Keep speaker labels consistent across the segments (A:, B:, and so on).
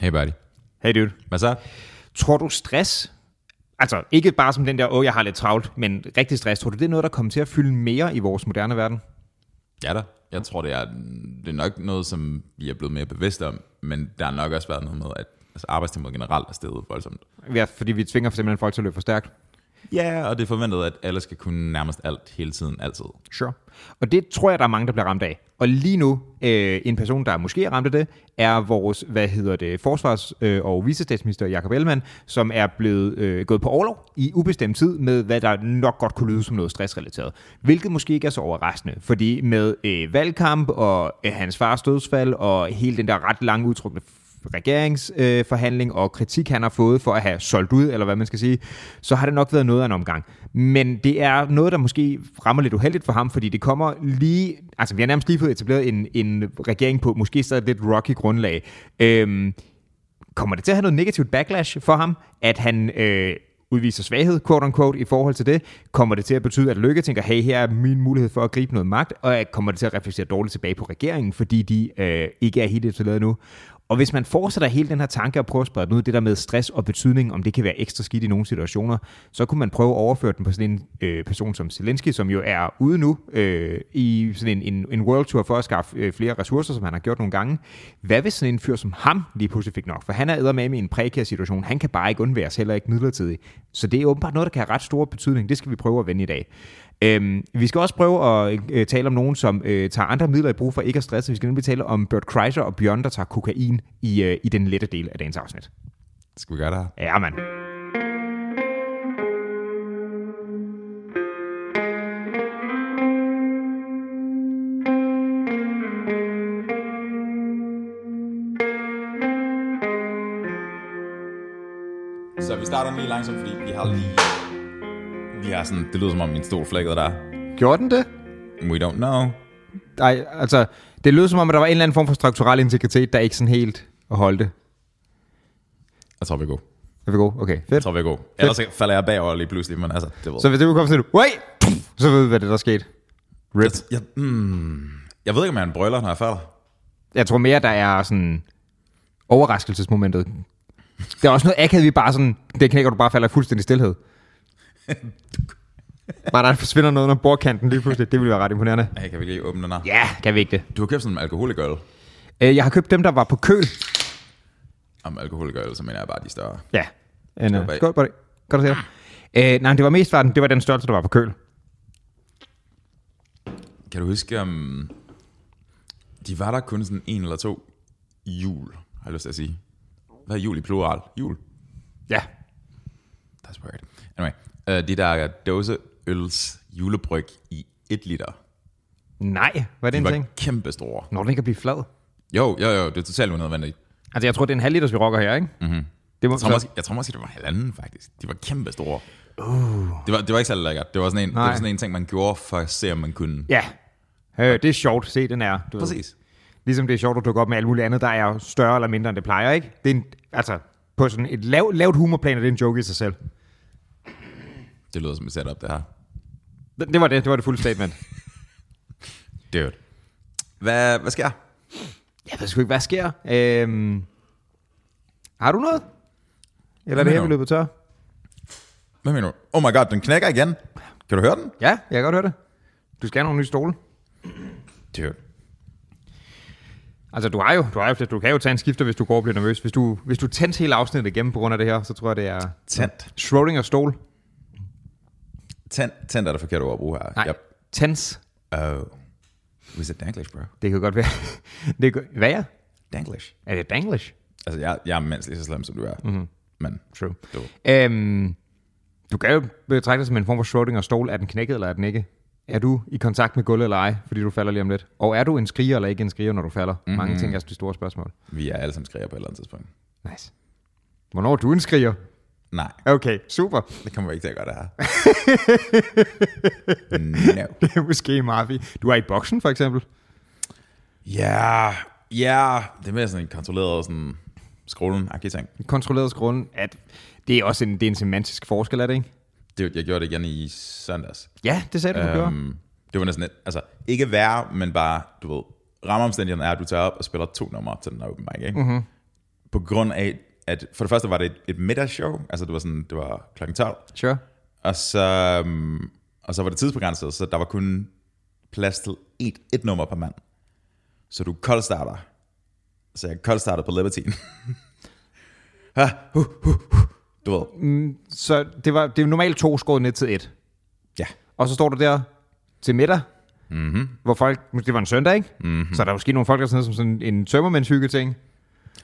A: Hey buddy.
B: Hey dude.
A: Hvad så?
B: Tror du stress, altså ikke bare som den der, åh, jeg har lidt travlt, men rigtig stress, tror du, det er noget, der kommer til at fylde mere i vores moderne verden?
A: Ja da. Jeg tror, det er, det er nok noget, som vi er blevet mere bevidste om, men der har nok også været noget med, at altså, arbejdstempoet generelt er steget voldsomt.
B: Ja, fordi vi tvinger simpelthen folk til at løbe for stærkt.
A: Ja, yeah, og det er forventet, at alle skal kunne nærmest alt hele tiden, altid.
B: Sure. Og det tror jeg, der er mange, der bliver ramt af. Og lige nu, øh, en person, der måske er ramt af det, er vores, hvad hedder det, forsvars- øh, og vicestatsminister Jakob Ellemann, som er blevet øh, gået på overlov i ubestemt tid med, hvad der nok godt kunne lyde som noget stressrelateret. Hvilket måske ikke er så overraskende, fordi med øh, valgkamp og øh, hans fars dødsfald og hele den der ret lange udtrykte regeringsforhandling øh, og kritik, han har fået for at have solgt ud, eller hvad man skal sige, så har det nok været noget af en omgang. Men det er noget, der måske rammer lidt uheldigt for ham, fordi det kommer lige... Altså, vi har nærmest lige fået etableret en, en regering på måske stadig lidt rocky grundlag. Øhm, kommer det til at have noget negativt backlash for ham, at han... Øh, udviser svaghed, quote unquote, i forhold til det, kommer det til at betyde, at Lykke tænker, hey, her er min mulighed for at gribe noget magt, og at kommer det til at reflektere dårligt tilbage på regeringen, fordi de øh, ikke er helt etableret nu. Og hvis man fortsætter hele den her tanke og prøver at sprede den ud, det der med stress og betydning, om det kan være ekstra skidt i nogle situationer, så kunne man prøve at overføre den på sådan en øh, person som Zelensky, som jo er ude nu øh, i sådan en, en, en world tour for at skaffe øh, flere ressourcer, som han har gjort nogle gange. Hvad hvis sådan en fyr som ham lige pludselig fik nok? For han er med i en prekær situation. Han kan bare ikke undværes, heller ikke midlertidigt. Så det er åbenbart noget, der kan have ret stor betydning. Det skal vi prøve at vende i dag. Øhm, vi skal også prøve at øh, tale om nogen, som øh, tager andre midler i brug for ikke at stresse. Vi skal nemlig tale om Bert Kreischer og Bjørn, der tager kokain i, øh, i den lette del af dagens afsnit.
A: Skal vi gøre det her?
B: Ja, mand.
A: Så vi starter lige langsomt, fordi vi har lige... Vi har sådan... Det lyder som om min stol flækkede der.
B: Gjorde den det?
A: We don't know.
B: Nej, altså, det lød som om, at der var en eller anden form for strukturel integritet, der ikke sådan helt holdte.
A: Jeg tror, vi er gode.
B: Er vi gode? Okay,
A: Jeg
B: fedt.
A: tror, vi er gode. Ellers falder jeg bagover lige pludselig, men altså, det ved
B: Så hvis det kunne komme sådan et, Wait! så ved vi, hvad det er, der skete.
A: jeg. Jeg, mm, jeg ved ikke, om jeg er en brøller, når jeg falder.
B: Jeg tror mere, der er sådan overraskelsesmomentet. Der er også noget akavet, vi bare sådan, det knækker du bare falder i fuldstændig stillhed. Nej, der forsvinder noget under bordkanten lige pludselig. Det ville være ret imponerende.
A: Hey, kan vi lige åbne den her?
B: Ja, kan vi ikke det.
A: Du har købt sådan en alkoholikøl.
B: Øh, Jeg har købt dem, der var på køl.
A: Om alkoholikøl, så mener jeg bare de større.
B: Ja. En,
A: bag.
B: øh, skål på det. Godt at se dig. Øh, nej, men det var mest var den, det var den størrelse, der var på køl.
A: Kan du huske, um, de var der kun sådan en eller to jul, har jeg lyst til at sige. Hvad er jul i plural? Jul.
B: Ja.
A: That's weird. Anyway, uh, de der dåseøls julebryg i 1 liter.
B: Nej, var det
A: De
B: en ting?
A: var kæmpe store.
B: Når den ikke at blive flad.
A: Jo, jo, jo, det er totalt unødvendigt.
B: Altså, jeg tror, det er en halv liters, vi rocker her, ikke? Mm-hmm. Det må,
A: Jeg tror, måske, jeg tror måske, det var halvanden, faktisk. De var kæmpe store. Uh. Det, var, det var ikke særlig lækkert. Det var, sådan en, det var
B: Nej.
A: sådan en ting, man gjorde for at se, om man kunne.
B: Ja. Øh, det er sjovt. Se, den er. Du ved.
A: Præcis.
B: Ligesom det er sjovt at dukke op med alt muligt andet, der er større eller mindre, end det plejer, ikke? Det er en, altså, på sådan et lav, lavt humorplan, er det en joke i sig selv.
A: Det lyder som et setup, det her.
B: Det, det var det. Det var det fulde statement.
A: Dude. Hvad, hvad sker?
B: jeg ved sgu ikke, hvad sker. Øhm, har du noget? Eller
A: Hvad
B: er det her,
A: mener
B: vi
A: du?
B: løbet tør?
A: Hvad mener du? Oh my god, den knækker igen. Kan du høre den?
B: Ja, jeg kan godt høre det. Du skal have nogle nye stole.
A: Dude.
B: Altså, du har jo, du har jo, du kan jo tage en skifter, hvis du går og bliver nervøs. Hvis du, hvis du tændte hele afsnittet igennem på grund af det her, så tror jeg, det er
A: Tændt.
B: Schrödinger stol.
A: Mm. Tændt, tændt er det forkerte ord at bruge her.
B: Nej, yep. tens.
A: Oh. Was it Danglish, bro?
B: Det kan godt være. Det kan, hvad er?
A: Danglish.
B: Er det danglish?
A: Altså, jeg, jeg er mindst lige så slem, som du er. Mm-hmm. Men
B: True.
A: du,
B: Øhm, du kan jo betragte det som en form for Schrödinger stol. Er den knækket, eller er den ikke? Er du i kontakt med gulvet eller ej, fordi du falder lige om lidt? Og er du en skriger eller ikke en skriger, når du falder? Mm-hmm. Mange ting er de store spørgsmål.
A: vi er alle sammen skriger på et eller andet tidspunkt.
B: Nice. Hvornår er du en skriger?
A: Nej,
B: Okay, super.
A: det kommer vi ikke til at gøre det her. no.
B: Det er måske meget fint. Du er i boksen, for eksempel.
A: Ja, yeah, ja. Yeah. Det er mere sådan en kontrolleret sådan skrålen ting.
B: kontrolleret skruen, at det er også en, det er en semantisk forskel, er det ikke?
A: Det, jeg gjorde det igen i søndags.
B: Ja, det sagde du, du gjorde.
A: Øhm, det var næsten et, altså, ikke værre, men bare, du ved, rammeomstændighederne er, at du tager op og spiller to numre til den her open mic, ikke? Mm-hmm. På grund af, at for det første var det et, et middagsshow, altså det var sådan, det var klokken 12,
B: Sure.
A: og så, øhm, og så var det tidsbegrænset, så der var kun plads til et, et nummer per mand. Så du koldstarter. Så jeg koldstartede på Libertine. ha, hu, hu, hu. Du ved,
B: Så det, var, det er jo normalt to skåret ned til et.
A: ja.
B: Og så står du der til middag, mm-hmm. hvor folk, det var en søndag, ikke? Mm-hmm. Så er der måske nogle folk, der er sådan noget som sådan en tømmermændshygge ting.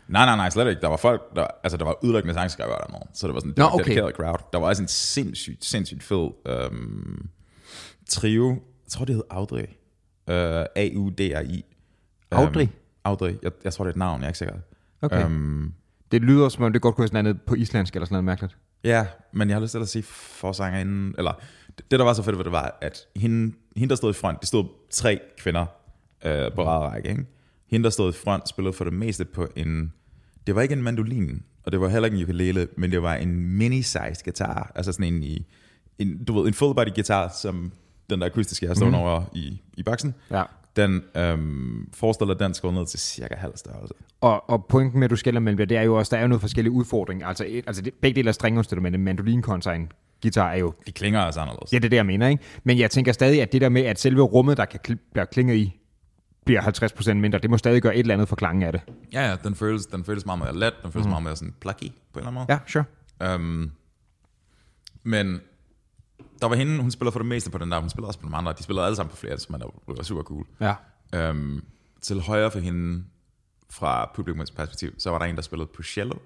A: Nej, nej, nej, slet ikke. Der var folk, der, altså der var udelukkende sangskrivere dernede, så det var sådan det
B: Nå,
A: var en
B: okay.
A: dedikeret crowd. Der var også en sindssygt, sindssygt fed øhm, trio. Jeg tror, det hed Audrey. Øh, A-U-D-R-I. Øhm,
B: Audrey?
A: Audrey. Jeg, jeg tror, det er et navn, jeg er ikke sikker.
B: Okay.
A: Øhm,
B: Det lyder som om, det godt kunne være sådan noget på islandsk eller sådan noget mærkeligt.
A: ja, men jeg har lyst til at sige forsangerinden, eller det, der var så fedt ved det, var, at hende, hende der stod i front, det stod tre kvinder øh, på rad og række, ikke? Hende, der stod i front, spillede for det meste på en, det var ikke en mandolin, og det var heller ikke en ukulele, men det var en mini-sized guitar, altså sådan en i, en, du ved, en full body guitar, som den der akustiske, jeg står mm. over i, i boksen,
B: Ja.
A: den øhm, forestiller den skåret ned til cirka halv størrelse.
B: Og, og pointen med, at du skælder mellem det, det er jo også, der er jo noget forskellige udfordringer. Altså, et, altså det, begge dele af stringinstrumentet, mandolin kontra en guitar, er jo,
A: De klinger altså anderledes.
B: ja, det er det, jeg mener, ikke? Men jeg tænker stadig, at det der med, at selve rummet, der kan kli- bliver klinget i, bliver 50% mindre, det må stadig gøre et eller andet for klangen af det.
A: Ja, ja, den føles, den føles meget mere let, den føles mm. meget mere sådan plucky på en eller anden måde.
B: Ja, sure.
A: Øhm, men der var hende, hun spiller for det meste på den der, hun spiller også på de andre, de spillede alle sammen på flere instrumenter, det var super cool.
B: Ja.
A: Øhm, til højre for hende, fra publikums perspektiv, så var der en, der spillede på cello. Øh,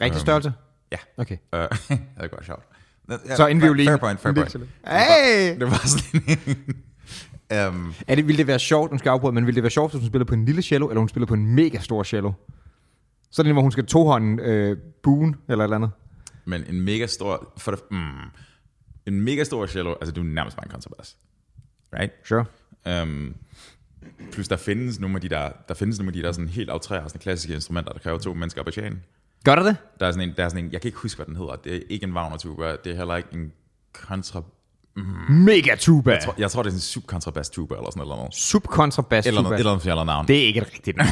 B: Rigtig størrelse?
A: Ja.
B: Okay.
A: Øh, det er godt sjovt. Ja,
B: Så en
A: fair-
B: violin.
A: Fair point, fair
B: En
A: point.
B: violin. Hey!
A: Det var sådan en... øhm,
B: Er det, ville det være sjovt, nu skal jeg afbryde, men ville det være sjovt, hvis hun spillede på en lille cello, eller hun spillede på en mega stor cello? Sådan en, hvor hun skal tohånden øh, buen, eller et eller andet.
A: men en mega stor... For det, mm, en mega stor cello, altså det er jo nærmest bare en kontrabas. Right?
B: Sure.
A: Um, plus der findes nogle af de der, der findes nogle af de der sådan helt aftræer, sådan klassiske instrumenter, der kræver to mennesker at betjene.
B: Gør der det?
A: Der er sådan en, der er sådan en, jeg kan ikke huske, hvad den hedder. Det er ikke en Wagner-tuba, det er heller ikke en kontra...
B: Mega tuba. Jeg
A: Jeg tror, det er sådan en subkontrabass-tuba eller sådan noget. Eller noget,
B: Subkontrabass
A: eller
B: tuba.
A: noget, eller noget, eller navn.
B: Det er ikke et rigtigt navn.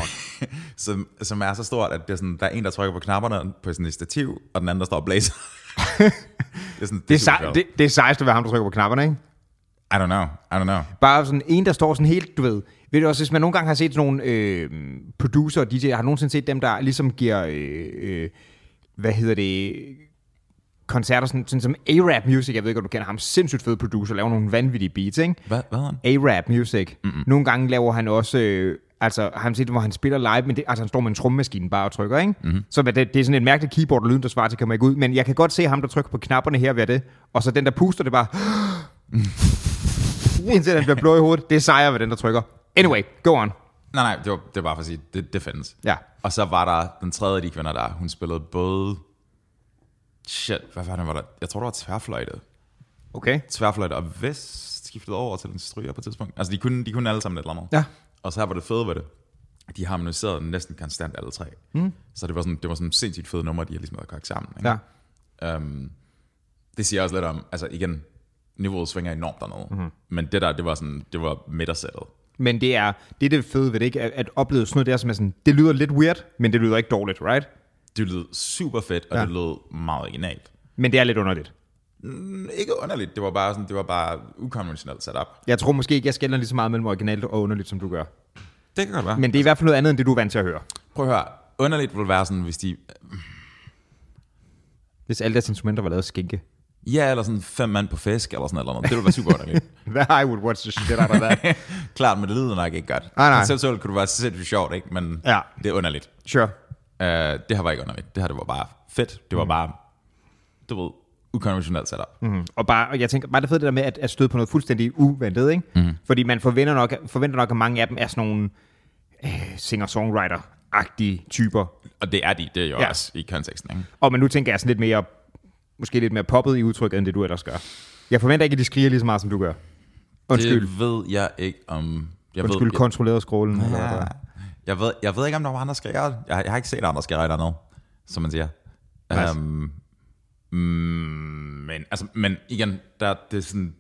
A: Som, som er så stort, at det er sådan, der er en, der trykker på knapperne på sådan et stativ, og den anden, der står og blæser. det er sådan,
B: det,
A: super
B: er sej,
A: sjovt.
B: det, det er sejst at være ham, der trykker på knapperne, ikke?
A: I don't know, I don't know.
B: Bare sådan en, der står sådan helt, du ved... Ved du også, hvis man nogle gange har set sådan nogle øh, producer og DJ'er, har du nogensinde set dem, der ligesom giver, øh, øh, hvad hedder det, koncerter, sådan, sådan som A-Rap Music, jeg ved ikke, om du kender ham, sindssygt fed producer, laver nogle vanvittige beats, ikke?
A: Hvad, hvad hedder den?
B: A-Rap Music. Mm-hmm. Nogle gange laver han også, øh, altså har han set, hvor han spiller live, men det, altså han står med en trommemaskine bare og trykker, ikke? Mm-hmm. Så hvad det, det er sådan et mærkeligt keyboard, og lyden, der svarer til, kommer ikke ud, men jeg kan godt se ham, der trykker på knapperne her, hvad det, og så den, der puster det bare, indtil den bliver blå i hovedet, det er sejere ved den, der trykker. Anyway, go on.
A: Nej, nej, det var, det var bare for at sige, det, det findes.
B: Ja.
A: Og så var der den tredje af de kvinder der, hun spillede både... Shit, hvad fanden var der? Jeg tror, der var tværfløjte.
B: Okay.
A: Tværfløjte og vest skiftede over til en stryger på et tidspunkt. Altså, de kunne, de kunne alle sammen et eller andet.
B: Ja.
A: Og så her var det fede ved det. De harmoniserede næsten konstant alle tre. Mm. Så det var sådan, det var sådan sindssygt fede numre, de har ligesom havde kogt sammen. Ikke?
B: Ja.
A: Øhm, det siger også lidt om, altså igen, niveauet svinger enormt dernede.
B: Mhm.
A: Mm-hmm. Men det der, det var sådan, det var midtersættet.
B: Men det er, det er det fede ved det, ikke? At, at opleve sådan noget der, som er sådan, det lyder lidt weird, men det lyder ikke dårligt, right?
A: Det lød super fedt, og
B: Ja.
A: ja. det lød meget originalt.
B: Men det er lidt underligt.
A: ikke underligt, det var bare sådan, det var bare ukonventionelt sat op.
B: Jeg tror måske ikke, jeg skælder lige så meget mellem originalt og underligt, som du gør.
A: Det kan godt være. Men
B: Men det er i hvert fald noget andet, end det du er vant til at høre.
A: prøv at høre, underligt ville være sådan, hvis de,
B: Hvis alle deres instrumenter var lavet af skinke.
A: ja, eller sådan fem mand på fisk, eller sådan noget, det ville være super underligt.
B: I would watch the shit out of that.
A: Klart, men det lyder nok ikke godt.
B: Nej, nej.
A: Selv kunne det være sindssygt sjovt, ikke? men
B: Ja.
A: det er underligt.
B: sure.
A: Uh, det her var ikke underligt, det her det var bare fedt,
B: Mm.
A: det var bare, du ved, ukonventionelt sat op. Mm.
B: Og bare, og jeg tænker, bare det fede det der med at, at støde på noget fuldstændig uventet, ikke? Mm. Fordi man forventer nok, forventer nok, at mange af dem er sådan nogle øh, singer-songwriter-agtige typer.
A: Og det er de, det er jo
B: Ja.
A: ja. også i konteksten. Ikke?
B: Og men nu tænker jeg sådan lidt mere, måske lidt mere poppet i udtrykket, end det du ellers gør. Jeg forventer ikke, at de skriger lige så meget, som du gør. Undskyld.
A: Det ved jeg ikke om... Jeg
B: Undskyld,
A: ved,
B: kontrolleret skrålen. Ja.
A: jeg,
B: Eller,
A: jeg, jeg, ved, jeg ved ikke, om der var andre skærer. Jeg, har- jeg har ikke set andre skærer dernede, som man siger.
B: Nice.
A: Um, men, altså, men igen, der, det, er sådan,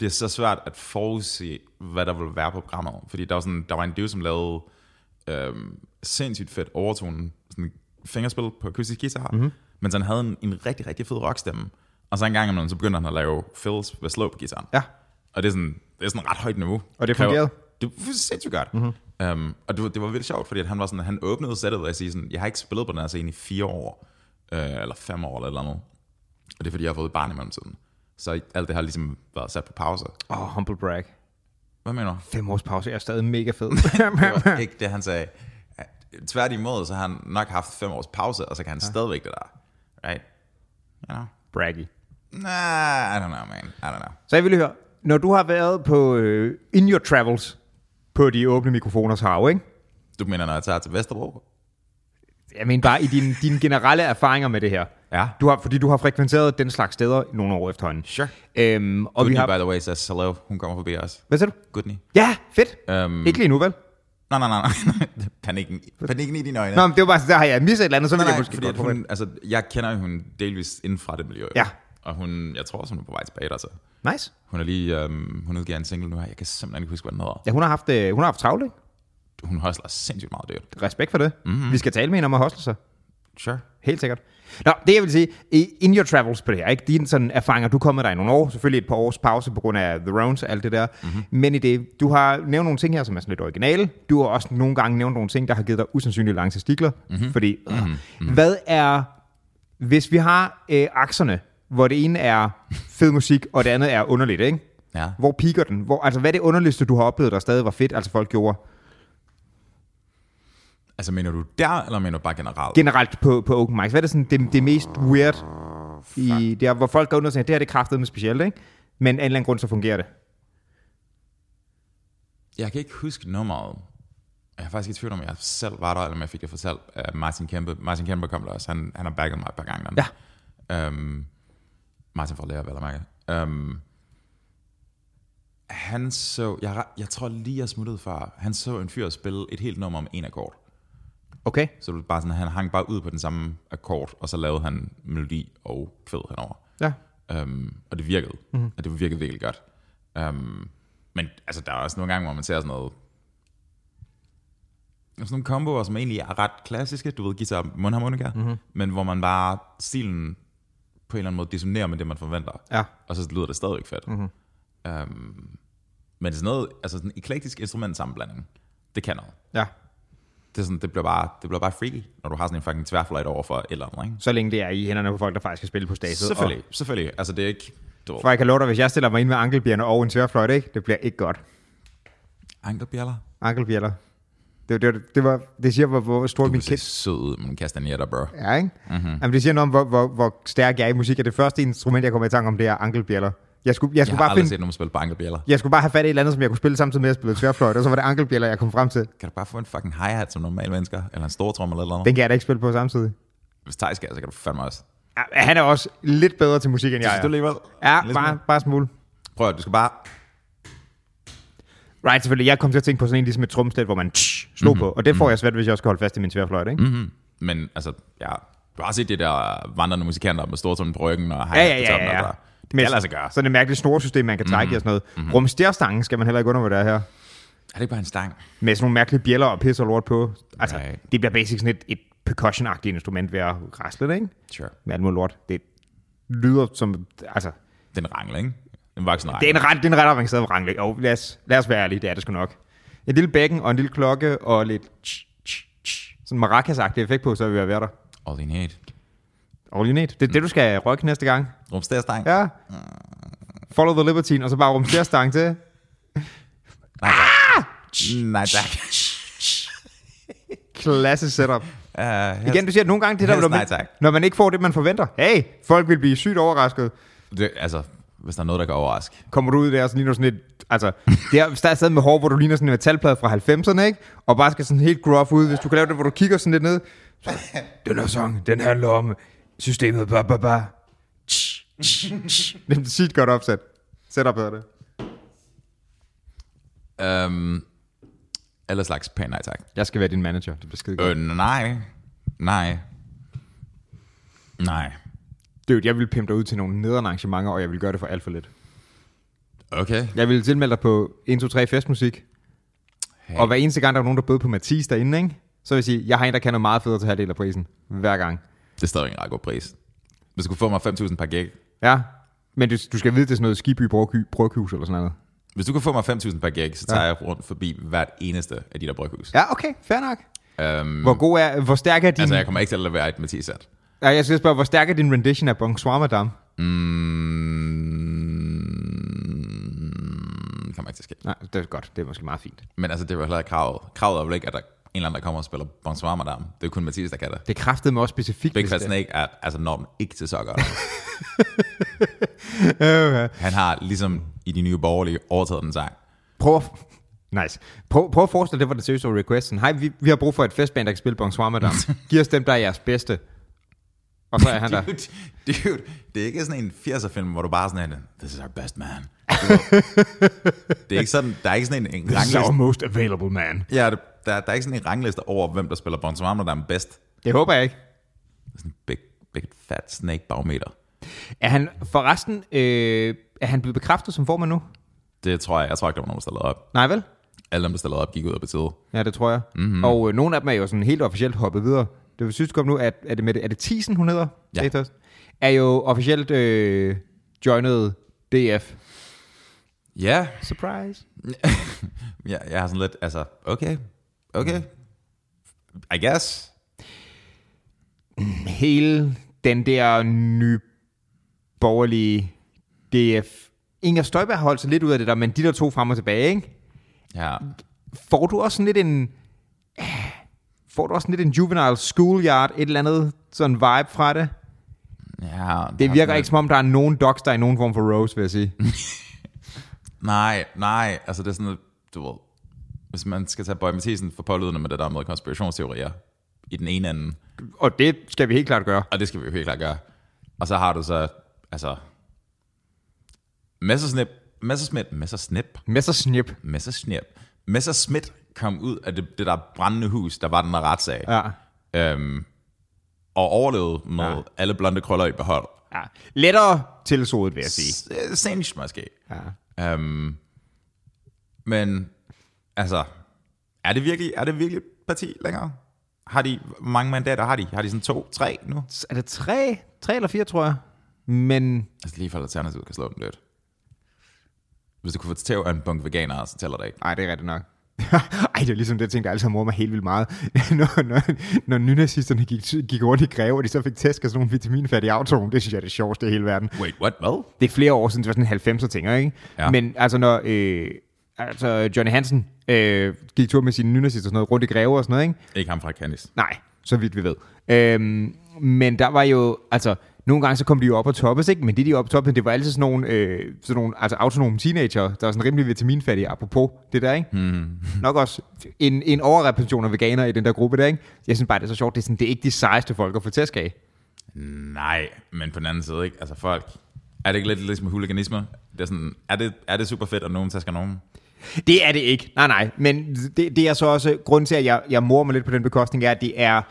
A: det er så svært at forudse, hvad der vil være på programmet. Fordi der var, sådan, der var en dude, som lavede øhm, sindssygt fedt overtonen, sådan fingerspil på akustisk guitar, mm-hmm. men så han havde en, en rigtig, rigtig fed rockstemme. Og så en gang imellem, så begyndte han at lave fills ved slow på gitaren.
B: Ja.
A: Og det er sådan, det er sådan ret højt niveau.
B: Og det Mhm.
A: Kræver-
B: fungerede?
A: Det var sindssygt godt. Mm-hmm. Um, og det, var- det var vildt sjovt, fordi at han var sådan, han åbnede sættet, og jeg siger sådan, jeg har ikke spillet på den her scene i fire år, øh, eller fem år, eller et eller andet. Og det er fordi, jeg har fået et barn i mellemtiden. Så alt det har ligesom været sat på pause.
B: Åh, oh, humble brag.
A: Hvad mener du?
B: Fem års pause jeg er stadig mega fed.
A: Det var ikke det, han sagde. Tværtimod, så har han nok haft fem års pause, og så kan han ja. stadigvæk det der. Right? You know?
B: Braggy.
A: Nah, I don't know, man. I don't know.
B: Så jeg ville høre, når du har været på øh, In Your Travels på de åbne mikrofoners hav, ikke?
A: Du mener, når jeg tager til Vesterbro?
B: Jeg mener bare i dine, dine generelle erfaringer med det her.
A: Ja.
B: Du har, fordi du har frekventeret den slags steder i nogle år efterhånden.
A: Sure.
B: Øhm, og vi
A: Goodney,
B: har...
A: by the way, says hello. Hun kommer forbi os.
B: Hvad sagde du?
A: Goodney.
B: Ja, fedt.
A: Øhm.
B: Ikke lige nu, vel?
A: Nej, nej, nej. nej. Panikken, panikken i dine øjne.
B: Nå, men det var bare sådan, der har jeg misset et eller andet, så
A: nej,
B: ville jeg
A: nej,
B: måske
A: fordi
B: godt
A: at
B: få
A: hun, altså, jeg kender jo hende delvis inden fra det miljø.
B: Ja.
A: Og hun, jeg tror også, hun er på vej tilbage der, så.
B: med. Nice.
A: Hun er lige, øhm, hun udgiver en single nu her. Jeg kan simpelthen ikke huske, hvad den hedder.
B: Ja, hun har haft, øh, hun har haft travlt, ikke?
A: Hun hustler sindssygt meget dyrt.
B: Respekt for det. Mm-hmm. Vi skal tale med hende om at hostle sig.
A: Sure.
B: Helt sikkert. Nå, det jeg vil sige, i- in your travels på det her, ikke? dine sådan erfaringer, du kommer der i nogle år, selvfølgelig et par års pause på grund af The Rounds og alt det der, mm-hmm. men i det, du har nævnt nogle ting her, som er sådan lidt originale, du har også nogle gange nævnt nogle ting, der har givet dig usandsynligt lange testikler, mm-hmm. fordi, øh, mm-hmm. hvad er, hvis vi har øh, akserne, hvor det ene er fed musik, og det andet er underligt, ikke?
A: Ja.
B: Hvor piker den? Hvor, altså, hvad er det underligste, du har oplevet, der stadig var fedt, altså folk gjorde
A: Altså, mener du der, eller mener du bare generelt?
B: generelt på, på open mics? Hvad er det, sådan, det, det mest weird, i, der, hvor folk går ud og siger, det her det er kraftet med specielt, ikke? Men af en eller anden grund, så fungerer det.
A: Jeg kan ikke huske nummeret. Jeg er faktisk i tvivl om, jeg selv var der, eller om jeg fik det fortalt af Martin Kempe. Martin Kempe kom der også. Han, han har bagget mig et par gange. der. Øhm, Martin fra Lærer, vel at mærke. Øhm, han så, jeg, er ret- jeg tror lige, jeg smuttede før, han så en fyr spille et helt nummer om en akkord.
B: Okay.
A: Så det var bare sådan, han hang bare ud på den samme akkord, og så lavede han melodi og kvæd henover.
B: Ja.
A: Um, og det virkede. Mm-hmm. Og det virkede virkelig godt. Um, men altså, der er også nogle gange, hvor man ser sådan noget... Sådan nogle komboer, som egentlig er ret klassiske. Du ved, guitar, mundharmonika. Mm-hmm. Men hvor man bare stilen på en eller anden måde dissonerer med det, man forventer.
B: Ja.
A: Og så lyder det stadigvæk fedt. Mm-hmm. Um, men sådan noget, altså sådan en eklektisk instrumentsammenblanding, det kan noget.
B: Ja.
A: Det, er sådan, det, bliver bare, det bliver bare freaky, når du har sådan en fucking tværflight over for et eller andet, ikke?
B: Så længe det er i hænderne på folk, der faktisk skal spille på stadiet.
A: Selvfølgelig, selvfølgelig. Altså, det er ikke... Du ved,
B: Og, for jeg kan love dig, hvis jeg stiller mig ind med ankelbjerne og en tørfløjte, ikke? Det bliver ikke godt.
A: ankelbjæller.
B: Ankelbjerne. Det, det, det, var, det siger, hvor, hvor stor
A: Du
B: min
A: Mhm. ser
B: kæft
A: sød ud med nogle kastanjetter, bro.
B: er, ikke? Mm-hmm. Jamen, det siger noget om, hvor, hvor, hvor stærk jeg er i musik. Og det første instrument, jeg kommer i tanke om, det er ankelbjæller. Jeg skulle, jeg
A: Jeg
B: skulle
A: har
B: bare
A: aldrig
B: finde,
A: set nogen spille på ankelbjæller.
B: jeg skulle bare have fat i et eller andet, som jeg kunne spille samtidig med at spille tværfløjt, og så var det ankelbjæller, jeg kom frem til.
A: Kan du bare få en fucking hi-hat som normale mennesker? Eller en stor tromme eller noget?
B: Den kan jeg da ikke spille på samtidig.
A: Hvis Thijs skal, så kan du fandme også.
B: Ja, Han er også lidt bedre til musik, end
A: Ja,
B: jeg
A: ja. Du
B: er.
A: alligevel?
B: Ja,
A: Lidt
B: bare, bare smule.
A: smule. Prøv at, du skal bare...
B: Right, selvfølgelig. Jeg kom til at tænke på sådan en ligesom et trumslæt, hvor man tsh,
A: Mhm.
B: slog mm-hmm. på. Og det får jeg svært, hvis jeg også skal holde fast i min tværfløjte, ikke? Mm-hmm.
A: Men altså, ja... Du har også set det der vandrende musikanter med stortrummen på ryggen og hi-hat
B: Ja, ja,
A: på
B: ja,
A: toppen.
B: ja, ja.
A: Altså. Det kan lade sig gøre. Mhm.
B: Sådan et mærkeligt snorsystem, man kan trække mm-hmm. i og sådan noget. Mm-hmm. Rumstjerstangen skal man heller ikke undervurdere her.
A: Er det ikke bare en stang?
B: Med sådan nogle mærkelige bjæller og pis og lort på. Altså,
A: Right.
B: det bliver basic sådan et, et percussion-agtigt instrument ved at rasle det, ikke?
A: Sure.
B: Med alt muligt lort. Det lyder som... Altså,
A: Den rangle, ikke? En voksen rangle.
B: det er en ret, det er en ret avanceret rangle. Jo, lad os, lad os være ærlige, det er det sgu nok. En lille bækken og en lille klokke og lidt... Tsh, tsh, tsh, sådan maracas effekt på, så vil jeg være der.
A: All in hate.
B: All you need. Det er det, du skal rykke næste gang.
A: Rumstærstang.
B: Ja. Follow the libertine, og så bare rumsterstang til.
A: Nej, tak.
B: Klasse setup.
A: Uh,
B: Igen, du siger, at nogle gange det der,
A: Helst
B: når man,
A: nej tak.
B: når man ikke får det, man forventer. Hey, folk vil blive sygt overrasket.
A: det, altså, hvis der er noget, der kan overraske.
B: Kommer du ud der, så ligner du sådan et... Altså, det er, hvis der er stadig med hår, hvor du ligner sådan en metalplade fra 90'erne, ikke? Og bare skal sådan helt gruff ud. Hvis du kan lave det, hvor du kigger sådan lidt ned. Så, den her sang, den handler om systemet. Ba, ba, ba. Tsh, tsh, tsh. Det er et sygt godt opsat. Setup hedder det.
A: Um, alle slags pæn nej tak.
B: Jeg skal være din manager. Det bliver skide godt.
A: Øh, nej. Nej. Nej.
B: Dude, jeg vil pimpe dig ud til nogle nederen arrangementer, og jeg vil gøre det for alt for lidt.
A: Okay.
B: Jeg vil tilmelde dig på 1, 2, 3 festmusik.
A: Hey.
B: Og hver eneste gang, der var nogen, der bød på Mathis derinde, ikke? så vil jeg sige, jeg har en, der kan noget meget federe til halvdelen af prisen. Hver gang.
A: Det er stadig en ret god pris. Hvis du kunne få mig 5.000 per gig,
B: Ja, men du, du skal vide, det er sådan noget Skiby Bryghy- Bryghus eller sådan noget.
A: hvis du kunne få mig 5.000 per gig, så tager ja. jeg rundt forbi hvert eneste af de der bryghus.
B: Ja, okay, fair nok.
A: Ja. Um,
B: Hvor god er, hvor stærk er din...
A: altså,
B: Altså,
A: jeg kommer ikke til at levere et Mathis-sat.
B: jeg... jeg skal spørge, hvor stærk er din rendition af Bonsoir Madame?
A: Mm, det kommer ikke til at ske.
B: Nej, det er godt. Det er måske meget fint.
A: Men altså, det var heller ikke kravet. Kravet er vel ikke, at der er en eller anden, der kommer og spiller Bonsoir Madame. Det er kun Mathis, der kan det.
B: Det kræftede mig også specifikt.
A: Big
B: hvis
A: Fat
B: det-
A: Snake er altså normen ikke til sokker.
B: Øh, øh.
A: Han har ligesom i de nye borgerlige overtaget den sang.
B: Prøv at... Nice. Prøv, prøv at forestille dig, det var det seriøse requesten. Hej, vi, vi har brug for et festband, der kan spille Bonsoir Madame. Giv os dem, der er jeres bedste. Og så er han der.
A: Dude, dude, det er ikke sådan en 80'er film, hvor du bare er sådan en, this is our best man. det er ikke sådan, der er ikke sådan en, en rangliste.
B: most available man.
A: Ja, det- der, der er ikke sådan en rangliste over, hvem der spiller Bonsoir Madame bedst. Det
B: Det håber jeg ikke.
A: er sådan en big, big fat snake barometer.
B: Er han forresten... Øh, er han blevet bekræftet som formand nu?
A: Det tror jeg, jeg tror ikke, der var nogen, der stillede op.
B: Nej, vel?
A: Alle dem, der stillede op, gik ud af partiet.
B: Ja, det tror jeg. Mm-hmm. Og øh, nogle af dem er jo sådan helt officielt hoppet videre. Det vil synes kom nu, at er det, med, er det Thiesen, hun hedder?
A: Ja.
B: Sagde først. Er jo officielt øh, joinet DF.
A: Ja,
B: Surprise.
A: ja, jeg har sådan lidt, altså, okay, okay, I guess.
B: Hele den der nye borgerlige DF. Inger Støjberg har holdt sig lidt ud af det der, men de der to frem og tilbage, ikke?
A: Ja.
B: Får du også sådan lidt en... Får du også sådan lidt en juvenile schoolyard, et eller andet sådan vibe fra det?
A: ja
B: Det virker ikke som om, der er nogen dogs, der er i nogen form for rose, vil jeg sige.
A: Nej, nej, altså det er sådan, du ved, hvis man skal tage Boy Mathisen for pålydende med det der med konspirationsteorier i den ene ende,
B: Og det skal vi helt klart gøre.
A: og det skal vi jo helt klart gøre. Og så har du så, altså, Messersnip, Messersmith, Messersnip,
B: Messersnip.
A: Messersnip, Messersmith kom ud af det, det der brændende hus, der var den der retssag,
B: Ja.
A: øhm, og overlevede med
B: Ja.
A: alle blonde krøller i behold.
B: ja. Lettere tilsodet, vil jeg sige.
A: S- Singe måske.
B: Ja.
A: Um, men altså, er det virkelig er det virkelig et parti længere? Har de, hvor mange mandater har de? Har de sådan to, tre nu?
B: Er det tre, tre eller fire, tror jeg? Men
A: Altså lige for alternativet kan slå dem lidt. Hvis du kunne få tæv af en bunke veganere, så tæller det ikke.
B: Nej, det er rigtigt nok. Ej, det er ligesom det ting, der altid har mordet mig helt vildt meget. når, når, når nynazisterne gik, gik rundt i greve, og de så fik tæsk af sådan nogle vitaminfattige autorum, det synes jeg er det sjoveste i hele verden.
A: Wait, what? Hvad?
B: Det er flere år siden, det var sådan 90'er ting, ikke?
A: Ja.
B: Men altså, når øh, altså, Johnny Hansen øh, gik tur med sine nynazister og sådan noget, rundt i greve og sådan noget, ikke?
A: Ikke ham fra Candice.
B: Nej, så vidt vi ved. Øhm, men der var jo, altså, nogle gange så kom de jo op og toppes, ikke? Men det, de op og toppes, det var altid sådan nogle, øh, sådan nogle altså, autonome teenager, der var sådan rimelig vitaminfattige, apropos det der, ikke?
A: Hmm.
B: Mm. Nok også en, en overrepræsentation af veganere i den der gruppe der, ikke? Jeg synes bare, det er så sjovt, det er, sådan, det er ikke de sejeste folk at få tæsk af.
A: Nej, men på den anden side ikke. Altså folk, er det ikke lidt ligesom huliganisme? Det er, sådan, er, det, er det super fedt, at nogen tasker nogen?
B: Det er det ikke. Nej, nej. Men det, det er så også grunden til, at jeg, jeg morer mig lidt på den bekostning, er, at det er...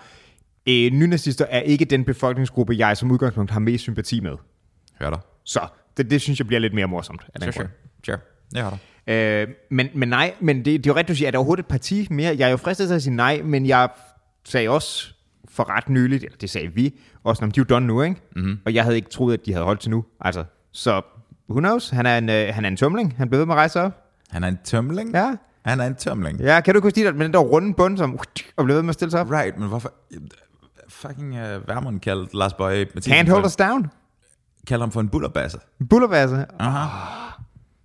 B: Øh, nynazister er ikke den befolkningsgruppe, jeg som udgangspunkt har mest sympati med.
A: Hører dig.
B: Så det, det synes jeg bliver lidt mere morsomt. Af den grund.
A: sure. Jeg hører dig.
B: Øh, men, men nej, men det, det er jo rigtigt, du siger, er der overhovedet et parti mere? Jeg er jo fristet til at sige nej, men jeg sagde også for ret nyligt, eller det sagde vi, også om de er jo done nu, ikke? Mm-hmm. Og jeg havde ikke troet, at de havde holdt til nu. Altså, så who knows? Han er en, øh, han er en tumling. Han blev ved med at rejse op.
A: Han er en tømling?
B: Ja.
A: Han er en tømling.
B: Ja, kan du ikke huske de der, med den der runde bund, som og blev ved med at stille sig op?
A: Right, men hvorfor... Fucking uh, Vermund kaldte Lars Bøje... Mathisen
B: Can't
A: for-
B: hold us down.
A: Kaldte ham for en bullerbasse.
B: Bullerbasse.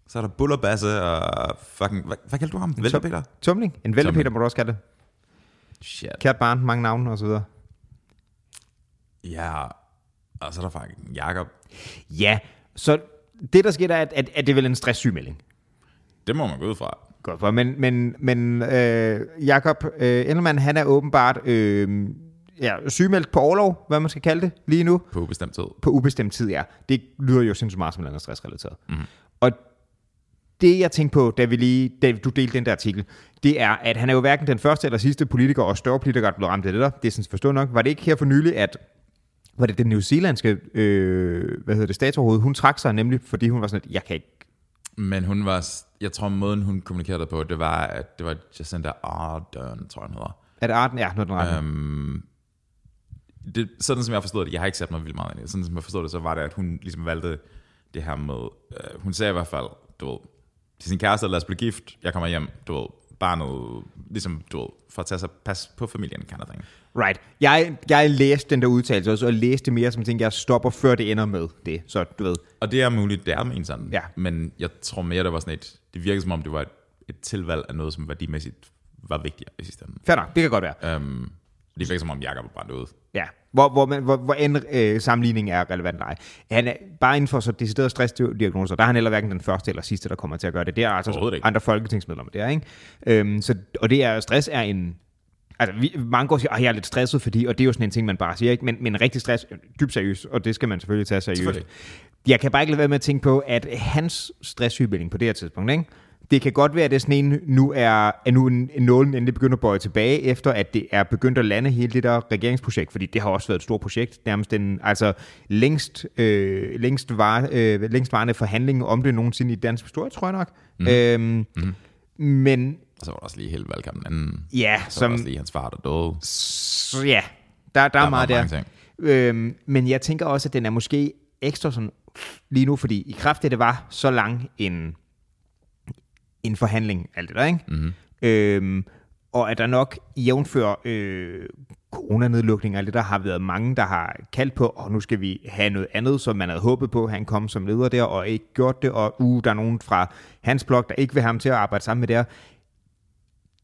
A: Så er der bullerbasse og fucking... Hvad, hvad kaldte du ham? Vælter Peter?
B: Tumling. En væltepeter må du også kalde det.
A: Shit.
B: Kært barn, mange navne og så videre.
A: Ja. Og så er der fucking Jakob.
B: Ja, så det der sker, der er, at, at, at det er vel en stresssygemelding.
A: Det må man gå ud fra.
B: Godt for, men, men, men øh, Jakob øh, Endelmann, han er åbenbart øh, ja, sygemeldt på overlov, hvad man skal kalde det lige nu,
A: På ubestemt tid.
B: på ubestemt tid, ja. Det lyder jo sindssygt meget som noget andet stressrelateret. Mm. Og det, jeg tænkte på, da, vi lige, da du delte den der artikel, det er, at han er jo hverken den første eller sidste politiker, og større politiker, der blev ramt af det der. Det er sådan forstået nok. Var det ikke her for nylig, at var det den newzealandske øh, hvad hedder det, statsoverhoved, hun trak sig nemlig, fordi hun var sådan, at jeg kan ikke
A: Men hun var... Jeg tror, måden hun kommunikerede på, det var, at det var Jacinda Ardern, tror jeg, hun hedder.
B: Er det arten? Ja, nu er den ret.
A: Øhm, det, sådan som jeg forstod det, jeg har ikke sat mig vildt meget ind i det, sådan som jeg forstod det, så var det, at hun ligesom valgte det her med, øh, hun sagde i hvert fald, du ved, til sin kæreste, lad os blive gift, jeg kommer hjem, du ved, barnet, ligesom, du ved, for at tage sig pas på familien, kind of thing.
B: Right. Jeg, jeg læste den der udtalelse også, og læste det mere som tænkte, jeg stopper, før det ender med det. Så du ved,
A: Og det er muligt, det er med en sådan,
B: Ja.
A: men jeg tror mere, det var sådan et, det virkede som om, det var et, et tilvalg af noget, som værdimæssigt var vigtigere i sidste ende.
B: fair nok, det kan godt være.
A: Øhm, det virkede som om, Jacob var brændt ud.
B: Ja, hvor, hvor, man, hvor, hvor en øh, sammenligning er relevant eller ej. Han er, bare inden for så deciderede stressdiagnoser, der er han heller hverken den første eller sidste, der kommer til at gøre det. Det er altså
A: Overhovedet ikke.
B: andre folketingsmedlemmer, det er, ikke? Øhm, så, og det er, stress er en... Altså, vi, mange går og siger, at jeg er lidt stresset, fordi, og det er jo sådan en ting, man bare siger, ikke? Men, men rigtig stress, øh, dybt seriøst, og det skal man selvfølgelig tage seriøst.
A: Selvfølgelig.
B: Jeg kan bare ikke lade være med at tænke på, at hans stresssygemelding på det her tidspunkt, ikke? det kan godt være, at det er sådan en, nu er, at nu en en nålen endelig begynder at bøje tilbage, efter at det er begyndt at lande hele det der regeringsprojekt, fordi det har også været et stort projekt, nærmest den altså, længst, øh, længst, var, øh, længst varende forhandling om det nogensinde i dansk historie, tror jeg nok. Mm. Øhm, mm. Men
A: Og så var der også lige hele valgkampen anden.
B: ja,
A: Så Som... var der
B: som,
A: også lige hans far, der døde.
B: så ja, der, der, der er meget der.
A: mange ting.
B: Øhm, men jeg tænker også, at den er måske ekstra sådan lige nu, fordi i kraft af, det var så lang en, en forhandling, alt det der, ikke? Mm-hmm. Øhm, og at der nok jævnfører øh, coronanedlukninger, det der har været mange, der har kaldt på, og nu skal vi have noget andet, som man havde håbet på, han kom som leder der, og ikke gjort det, og uh, der er nogen fra hans blok, der ikke vil have ham til at arbejde sammen med der.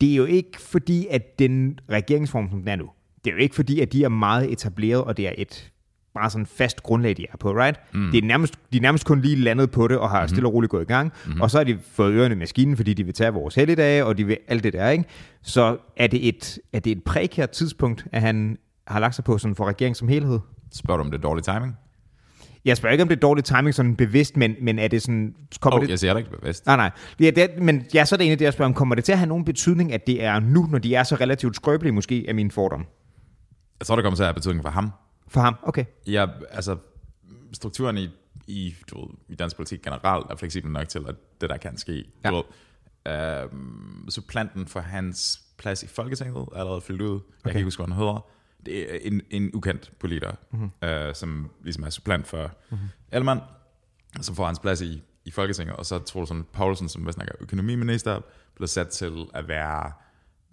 B: Det er jo ikke fordi, at den regeringsform, som den er nu, det er jo ikke fordi, at de er meget etableret, og det er et bare sådan fast grundlag, de er på, right? Mm. Det er nærmest, de er nærmest kun lige landet på det, og har stille og roligt gået i gang, mm. og så har de fået ørerne i maskinen, fordi de vil tage vores helligdage, og de vil alt det der, ikke? Så er det et, er det et prekært tidspunkt, at han har lagt sig på sådan for regeringen som helhed?
A: Spørger du, om det er dårlig timing?
B: Jeg spørger ikke, om det er dårlig timing sådan bevidst, men, men er det sådan... Kommer
A: Åh,
B: det,
A: oh, jeg siger det ikke bevidst.
B: Nej, nej. Ja, det er, men ja, så er det egentlig det, jeg spørger om. Kommer det til at have nogen betydning, at det er nu, når de er så relativt skrøbelige, måske, af min fordom?
A: Jeg tror, det kommer til at have betydning for ham.
B: For ham? Okay.
A: Ja, altså, strukturen i, i, du ved, i dansk politik generelt er fleksibel nok til, at det der kan ske.
B: Ja.
A: Du ved, øhm, supplanten for hans plads i Folketinget er allerede fyldt ud. Okay. Jeg kan ikke huske, hvad han hedder. Det er en, en ukendt politiker, mm-hmm. øh, som ligesom er supplant for mm-hmm. Ellemann, som får hans plads i, i Folketinget. Og så tror sådan Poulsen, som vist nok er økonomiminister, bliver sat til at være...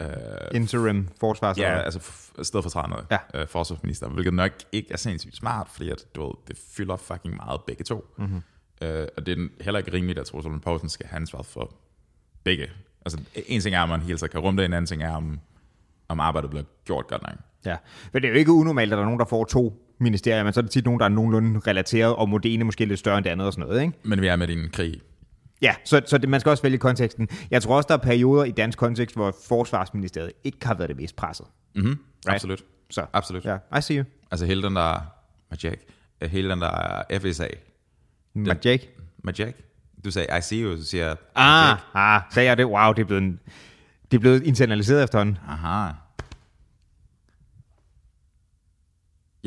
A: Øh,
B: Interim forsvars.
A: Ja, altså f- stedfortrædende
B: Ja.
A: ja. øh, forsvarsminister, hvilket nok ikke er sindssygt smart, fordi at, du ved, det fylder fucking meget begge to. Mm-hmm. Øh, og det er heller ikke rimeligt, at Troels Lund Poulsen skal have ansvaret for begge. Altså, en ting er, om man hele tiden kan rumme det, en anden ting er, om, om arbejdet bliver gjort godt nok.
B: ja. Men det er jo ikke unormalt, at der er nogen, der får to ministerier, men så er det tit nogen, der er nogenlunde relateret, og må det ene måske lidt større end det andet og sådan noget, ikke?
A: Men vi er med i en krig.
B: Ja, så, så det, man skal også vælge konteksten. Jeg tror også, der er perioder i dansk kontekst, hvor forsvarsministeriet ikke har været det mest presset.
A: Mm-hmm. Right. Absolut.
B: Så,
A: Absolut. Ja.
B: ja, I see you.
A: Altså hele den der Majak, øh, hele den der FSA.
B: Mark Jake.
A: Majak? Du sagde, I see you, så siger jeg,
B: Ah, ah, sagde jeg det? Wow, det er blevet, en, det er blevet internaliseret efterhånden.
A: aha.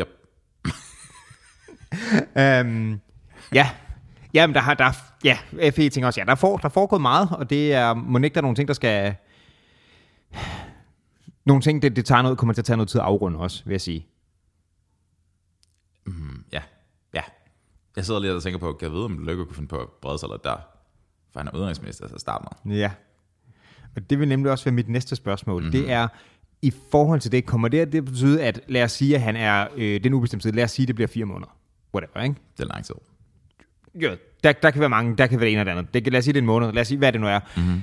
A: Yep.
B: Øhm, ja. Jamen, der har, der, er- ja, FE ting også, ja, der, for, der er foregået meget, og det er, må ikke der er nogle ting, der skal, nogle ting, det, det tager noget, kommer til at tage noget tid at afrunde også, vil jeg sige.
A: Ja, ja. Jeg sidder lige og tænker på, kan jeg vide, om Løkke kunne finde på at brede sig lidt der? For han er udenrigsminister til at starte med.
B: Ja. Og det vil nemlig også være mit næste spørgsmål. Mm-hmm. Det er, i forhold til det, kommer det at det betyde, at lad os sige, at han er øh, den ubestemte tid, lad os sige, at det bliver fire måneder. Whatever, ikke?
A: Det er lang tid.
B: Jo, der, der kan være mange, der kan være det ene og det andet. Det, kan- lad os sige, det er en måned. Lad os sige, hvad det nu er. Mm-hmm.
A: Mhm.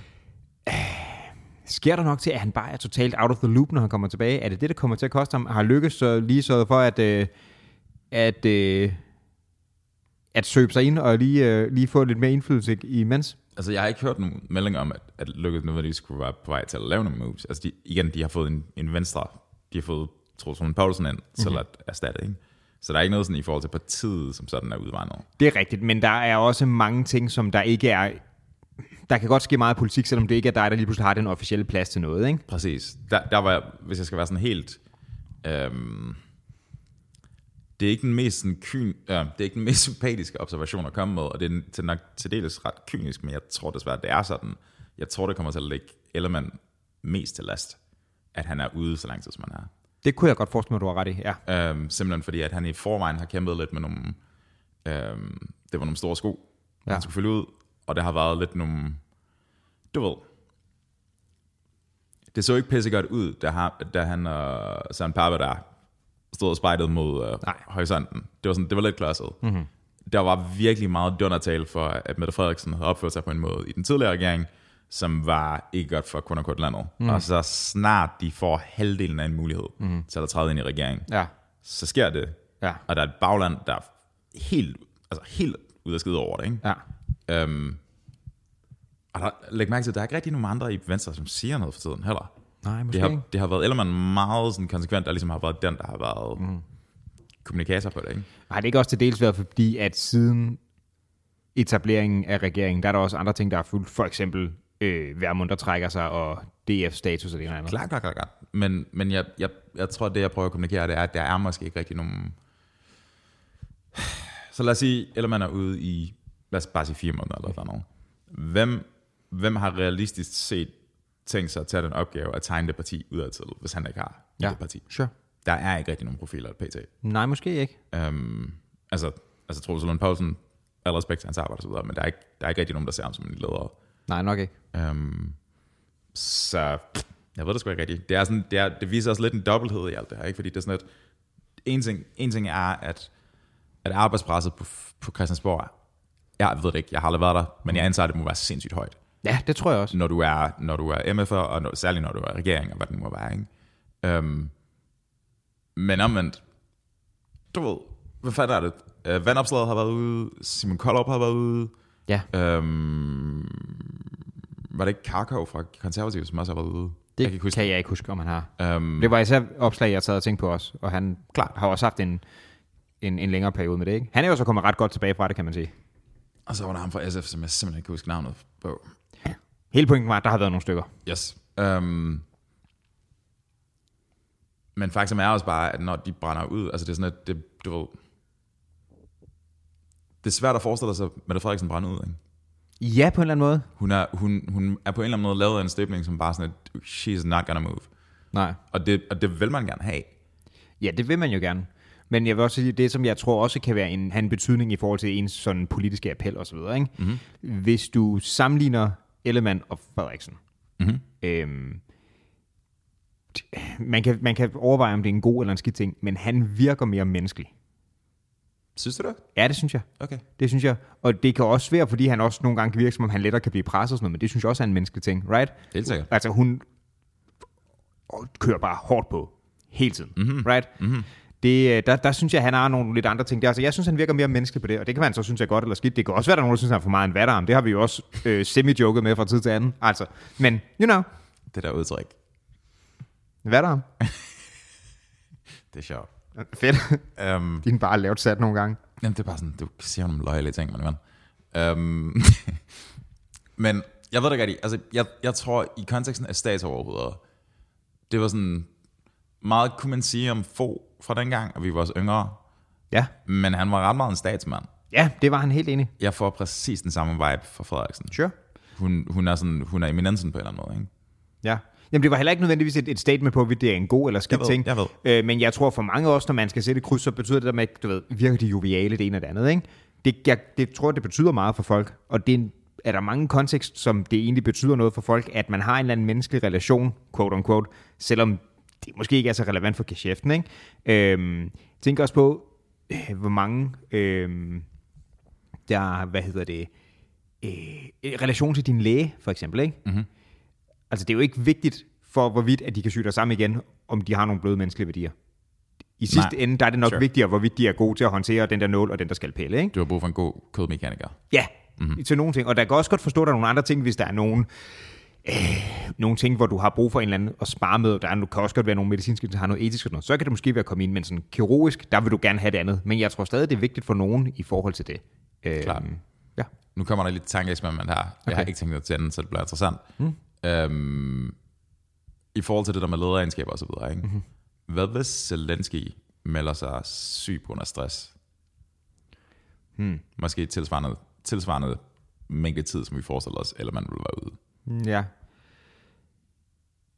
B: Sker der nok til, at han bare er totalt out of the loop, når han kommer tilbage? Er det det, der kommer til at koste ham? Har lykkes så lige sørget for, at, øh, at, øh, at søbe sig ind og lige, øh, lige få lidt mere indflydelse imens?
A: Altså, jeg har ikke hørt nogen melding om, at, at Løkke nødvendigvis skulle være på vej til at lave nogle moves. Altså, de, igen, de har fået en, en venstre. De har fået Troels Lund Poulsen ind til mm-hmm. at erstatte, ikke? Så der er ikke noget sådan i forhold til partiet, som sådan er udvandret.
B: Det er rigtigt, men der er også mange ting, som der ikke er... Der kan godt ske meget politik, selvom det ikke er dig, der lige pludselig har den officielle plads til noget, ikke?
A: Præcis. Der, der var jeg, hvis jeg skal være sådan helt... Øhm, det er ikke den mest, sådan, kyn, øh, det er ikke den mest sympatiske observation at komme med, og det er til, nok til dels ret kynisk, men jeg tror desværre, det er sådan. Jeg tror, det kommer til at lægge Ellemann mest til last, at han er ude så lang tid, som han er.
B: Det kunne jeg godt forestille mig, du har ret i. Ja.
A: Øhm, simpelthen fordi, at han i forvejen har kæmpet lidt med nogle... Øhm, det var nogle store sko, ja.
B: Ja.
A: han skulle følge ud, og det har været lidt nogle... Du ved... Det så ikke pissegodt ud, da, han, da han og Søren Papa der stod og spejlet mod øh,
B: Nej. Mhm.
A: horisonten. Det var, sådan, det var lidt klodset. Mm-hmm. Der var virkelig meget dundertale for, at Mette Frederiksen havde opført sig på en måde i den tidligere regering, som var ikke godt for kun og kort landet.
B: Mhm.
A: Mm. Og så snart de får halvdelen af en mulighed, mm. så er der træder ind i regeringen
B: Ja.
A: så sker det.
B: Ja.
A: Og der er et bagland, der er helt, altså helt ud af skide over det. Ikke?
B: Ja.
A: Ja. Øhm, og der, læg mærke til, at der er ikke rigtig nogen andre i Venstre, som siger noget for tiden heller.
B: Nej, måske
A: Det har,
B: ikke.
A: det har været Ellemann meget sådan konsekvent, der ligesom har været den, der har været
B: Mhm.
A: mm. kommunikator på det. Ikke?
B: Har det ikke også til dels været fordi, at siden etableringen af regeringen, der er der også andre ting, der er fuldt. For eksempel øh, Værmund, der trækker sig, og DF-status og det ene og andet.
A: Klart, klart, klart, klart. Men, men jeg, jeg, jeg tror, det jeg prøver at kommunikere, det er, at der er måske ikke rigtig nogen... Så lad os sige, Ellemann er ude i, lad os bare sige fire måneder eller sådan noget. Hvem, hvem har realistisk set tænkt sig at tage den opgave at tegne det parti udadtil, hvis han ikke har ja. det parti?
B: sure.
A: Der er ikke rigtig nogen profiler at pt.
B: Nej, måske ikke.
A: Øhm, altså, altså Troels Lund Poulsen, al respekt til hans arbejde og så videre, men der er, ikke, der er ikke rigtig nogen, der ser ham som en leder.
B: Nej, nok ikke.
A: Øhm, så pff, jeg ved det sgu ikke rigtigt. Det, er sådan, det, er, det viser også lidt en dobbelthed i alt det her, ikke? fordi det er sådan, at en ting, en ting er, at, at arbejdspresset på, på Christiansborg, er- jeg ved det ikke, jeg har aldrig været der, men jeg antager, at det må være sindssygt højt,
B: Ja, det tror jeg også.
A: når du er, når du er MF'er, og når, særligt når du er regering, og hvad det nu må være. Ikke? Øhm, men omvendt, du ved, hvad fanden er det? Øh, vandopslaget har været ude, Simon Koldrup har været ude,
B: Ja,
A: Øhm, var det ikke Karkov fra Konservative, som også har været ude?
B: det
A: jeg kan ikke huske.
B: kan jeg ikke huske, om han har.
A: Øhm,
B: Det var især opslag, jeg sad og tænkte på os, og han klar, har også haft en, en, en længere periode med det, ikke? Han er jo så kommet ret godt tilbage fra det, kan man sige.
A: og så var der ham fra SF, som jeg simpelthen ikke kan huske navnet på.
B: Hele pointen var, at der har været nogle stykker.
A: Yes. Øhm, men faktum er også bare, at når de brænder ud, altså det er sådan, at det, du ved, det er svært at forestille sig, at Mette Frederiksen brænder ud. Ikke?
B: Ja, på en eller anden måde.
A: Hun, er, hun, hun er på en eller anden måde lavet af en støbning, som bare sådan, at she's not gonna move.
B: Nej.
A: Og det, og det vil man gerne have.
B: Ja, det vil man jo gerne. Men jeg vil også sige, det som jeg tror også kan være en, have en betydning i forhold til ens sådan politiske appel osv., ikke? Mm-hmm. hvis du sammenligner Ellemann og Frederiksen, mm-hmm. øhm, man, kan, man kan overveje, om det er en god eller en skidt ting, men han virker mere menneskelig.
A: Synes du det?
B: Ja, det synes jeg.
A: Okay.
B: Det synes jeg. Og det kan også være, fordi han også nogle gange kan virke, som om han lettere kan blive presset og sådan noget, men det synes jeg også er en menneskelig ting, right?
A: Helt sikkert.
B: Altså hun kører bare hårdt på hele tiden, mm-hmm. right? Mm-hmm. Det, øh, der, der synes jeg, han har nogle lidt andre ting. Der. Altså, jeg synes, han virker mere menneskelig på det, og det kan man så synes er godt eller skidt. Det kan også være, der er nogen, der synes, han er for meget en vatterarm. Det har vi jo også øh, semi-joket med fra tid til anden. Altså, men, you know,
A: Det der udtryk,
B: vatterarm.
A: det er sjovt.
B: Fedt.
A: Øhm,
B: De er bare lavt sat nogle gange.
A: Jamen, det er bare sådan, du siger nogle løjelige ting, man. Øhm, men jeg ved det ikke rigtigt. Altså, jeg, jeg tror, i konteksten af statsoverhoveder, det var sådan, meget kunne man sige om få fra dengang, og vi var også yngre,
B: Ja.
A: men han var ret meget en statsmand.
B: Ja, det var han helt enig.
A: Jeg får præcis den samme vibe fra Frederiksen.
B: Sure.
A: Hun, hun, er sådan, hun er eminensen på en eller anden måde, ikke?
B: Ja. Jamen, det var heller ikke nødvendigvis et, et statement på, at det er en god eller skidt
A: Jeg ved,
B: ting.
A: jeg ved.
B: Øh, men jeg tror for mange af os, når man skal sætte et kryds, så betyder det der med, du ved, virker de joviale det ene og det andet, ikke? Det, jeg det tror, det betyder meget for folk, og det er, en- er der mange kontekst, som det egentlig betyder noget for folk, at man har en eller anden menneskelig relation, quote on quote, selvom det måske ikke er så relevant for geschæften, ikke? Øhm, tænk også på, øh, hvor mange, øh, der, hvad hedder det, øh, i relation til din læge, for eksempel, ikke? Mm-hmm. Altså, det er jo ikke vigtigt for, hvorvidt at de kan sy dig sammen igen, om de har nogle bløde menneskelige værdier. I sidste
A: Nej.
B: ende, der er det nok
A: Sure.
B: sure. vigtigere, hvorvidt de er gode til at håndtere den der nål og den der skalpelle, ikke?
A: Du har brug for en god kødmekaniker.
B: Ja,
A: Mhm.
B: mm-hmm. til nogle ting. Og der kan også godt forstå, at der er nogle andre ting, hvis der er nogen, øh, nogle ting, hvor du har brug for en eller anden at spare med. Der er, kan også godt være nogle medicinske, der har noget etisk og sådan noget. Så kan det måske være at komme ind, men sådan kirurgisk, der vil du gerne have det andet. Men jeg tror stadig, det er vigtigt for nogen i forhold til det. Øh,
A: Klart.
B: Ja.
A: Nu kommer der lidt tankeeksperiment her. Jeg har
B: Okay.
A: ikke tænkt mig til den, så det bliver interessant. Mm. Øhm, I forhold til det der med lederegenskaber og så videre, ikke?
B: Mhm.
A: Mm-hmm. Hvad hvis Zelensky melder sig syg på grund af stress? Hmm. Måske tilsvarende, tilsvarende mængde tid, som vi forestiller os, eller man vil være ude.
B: Ja. Mm,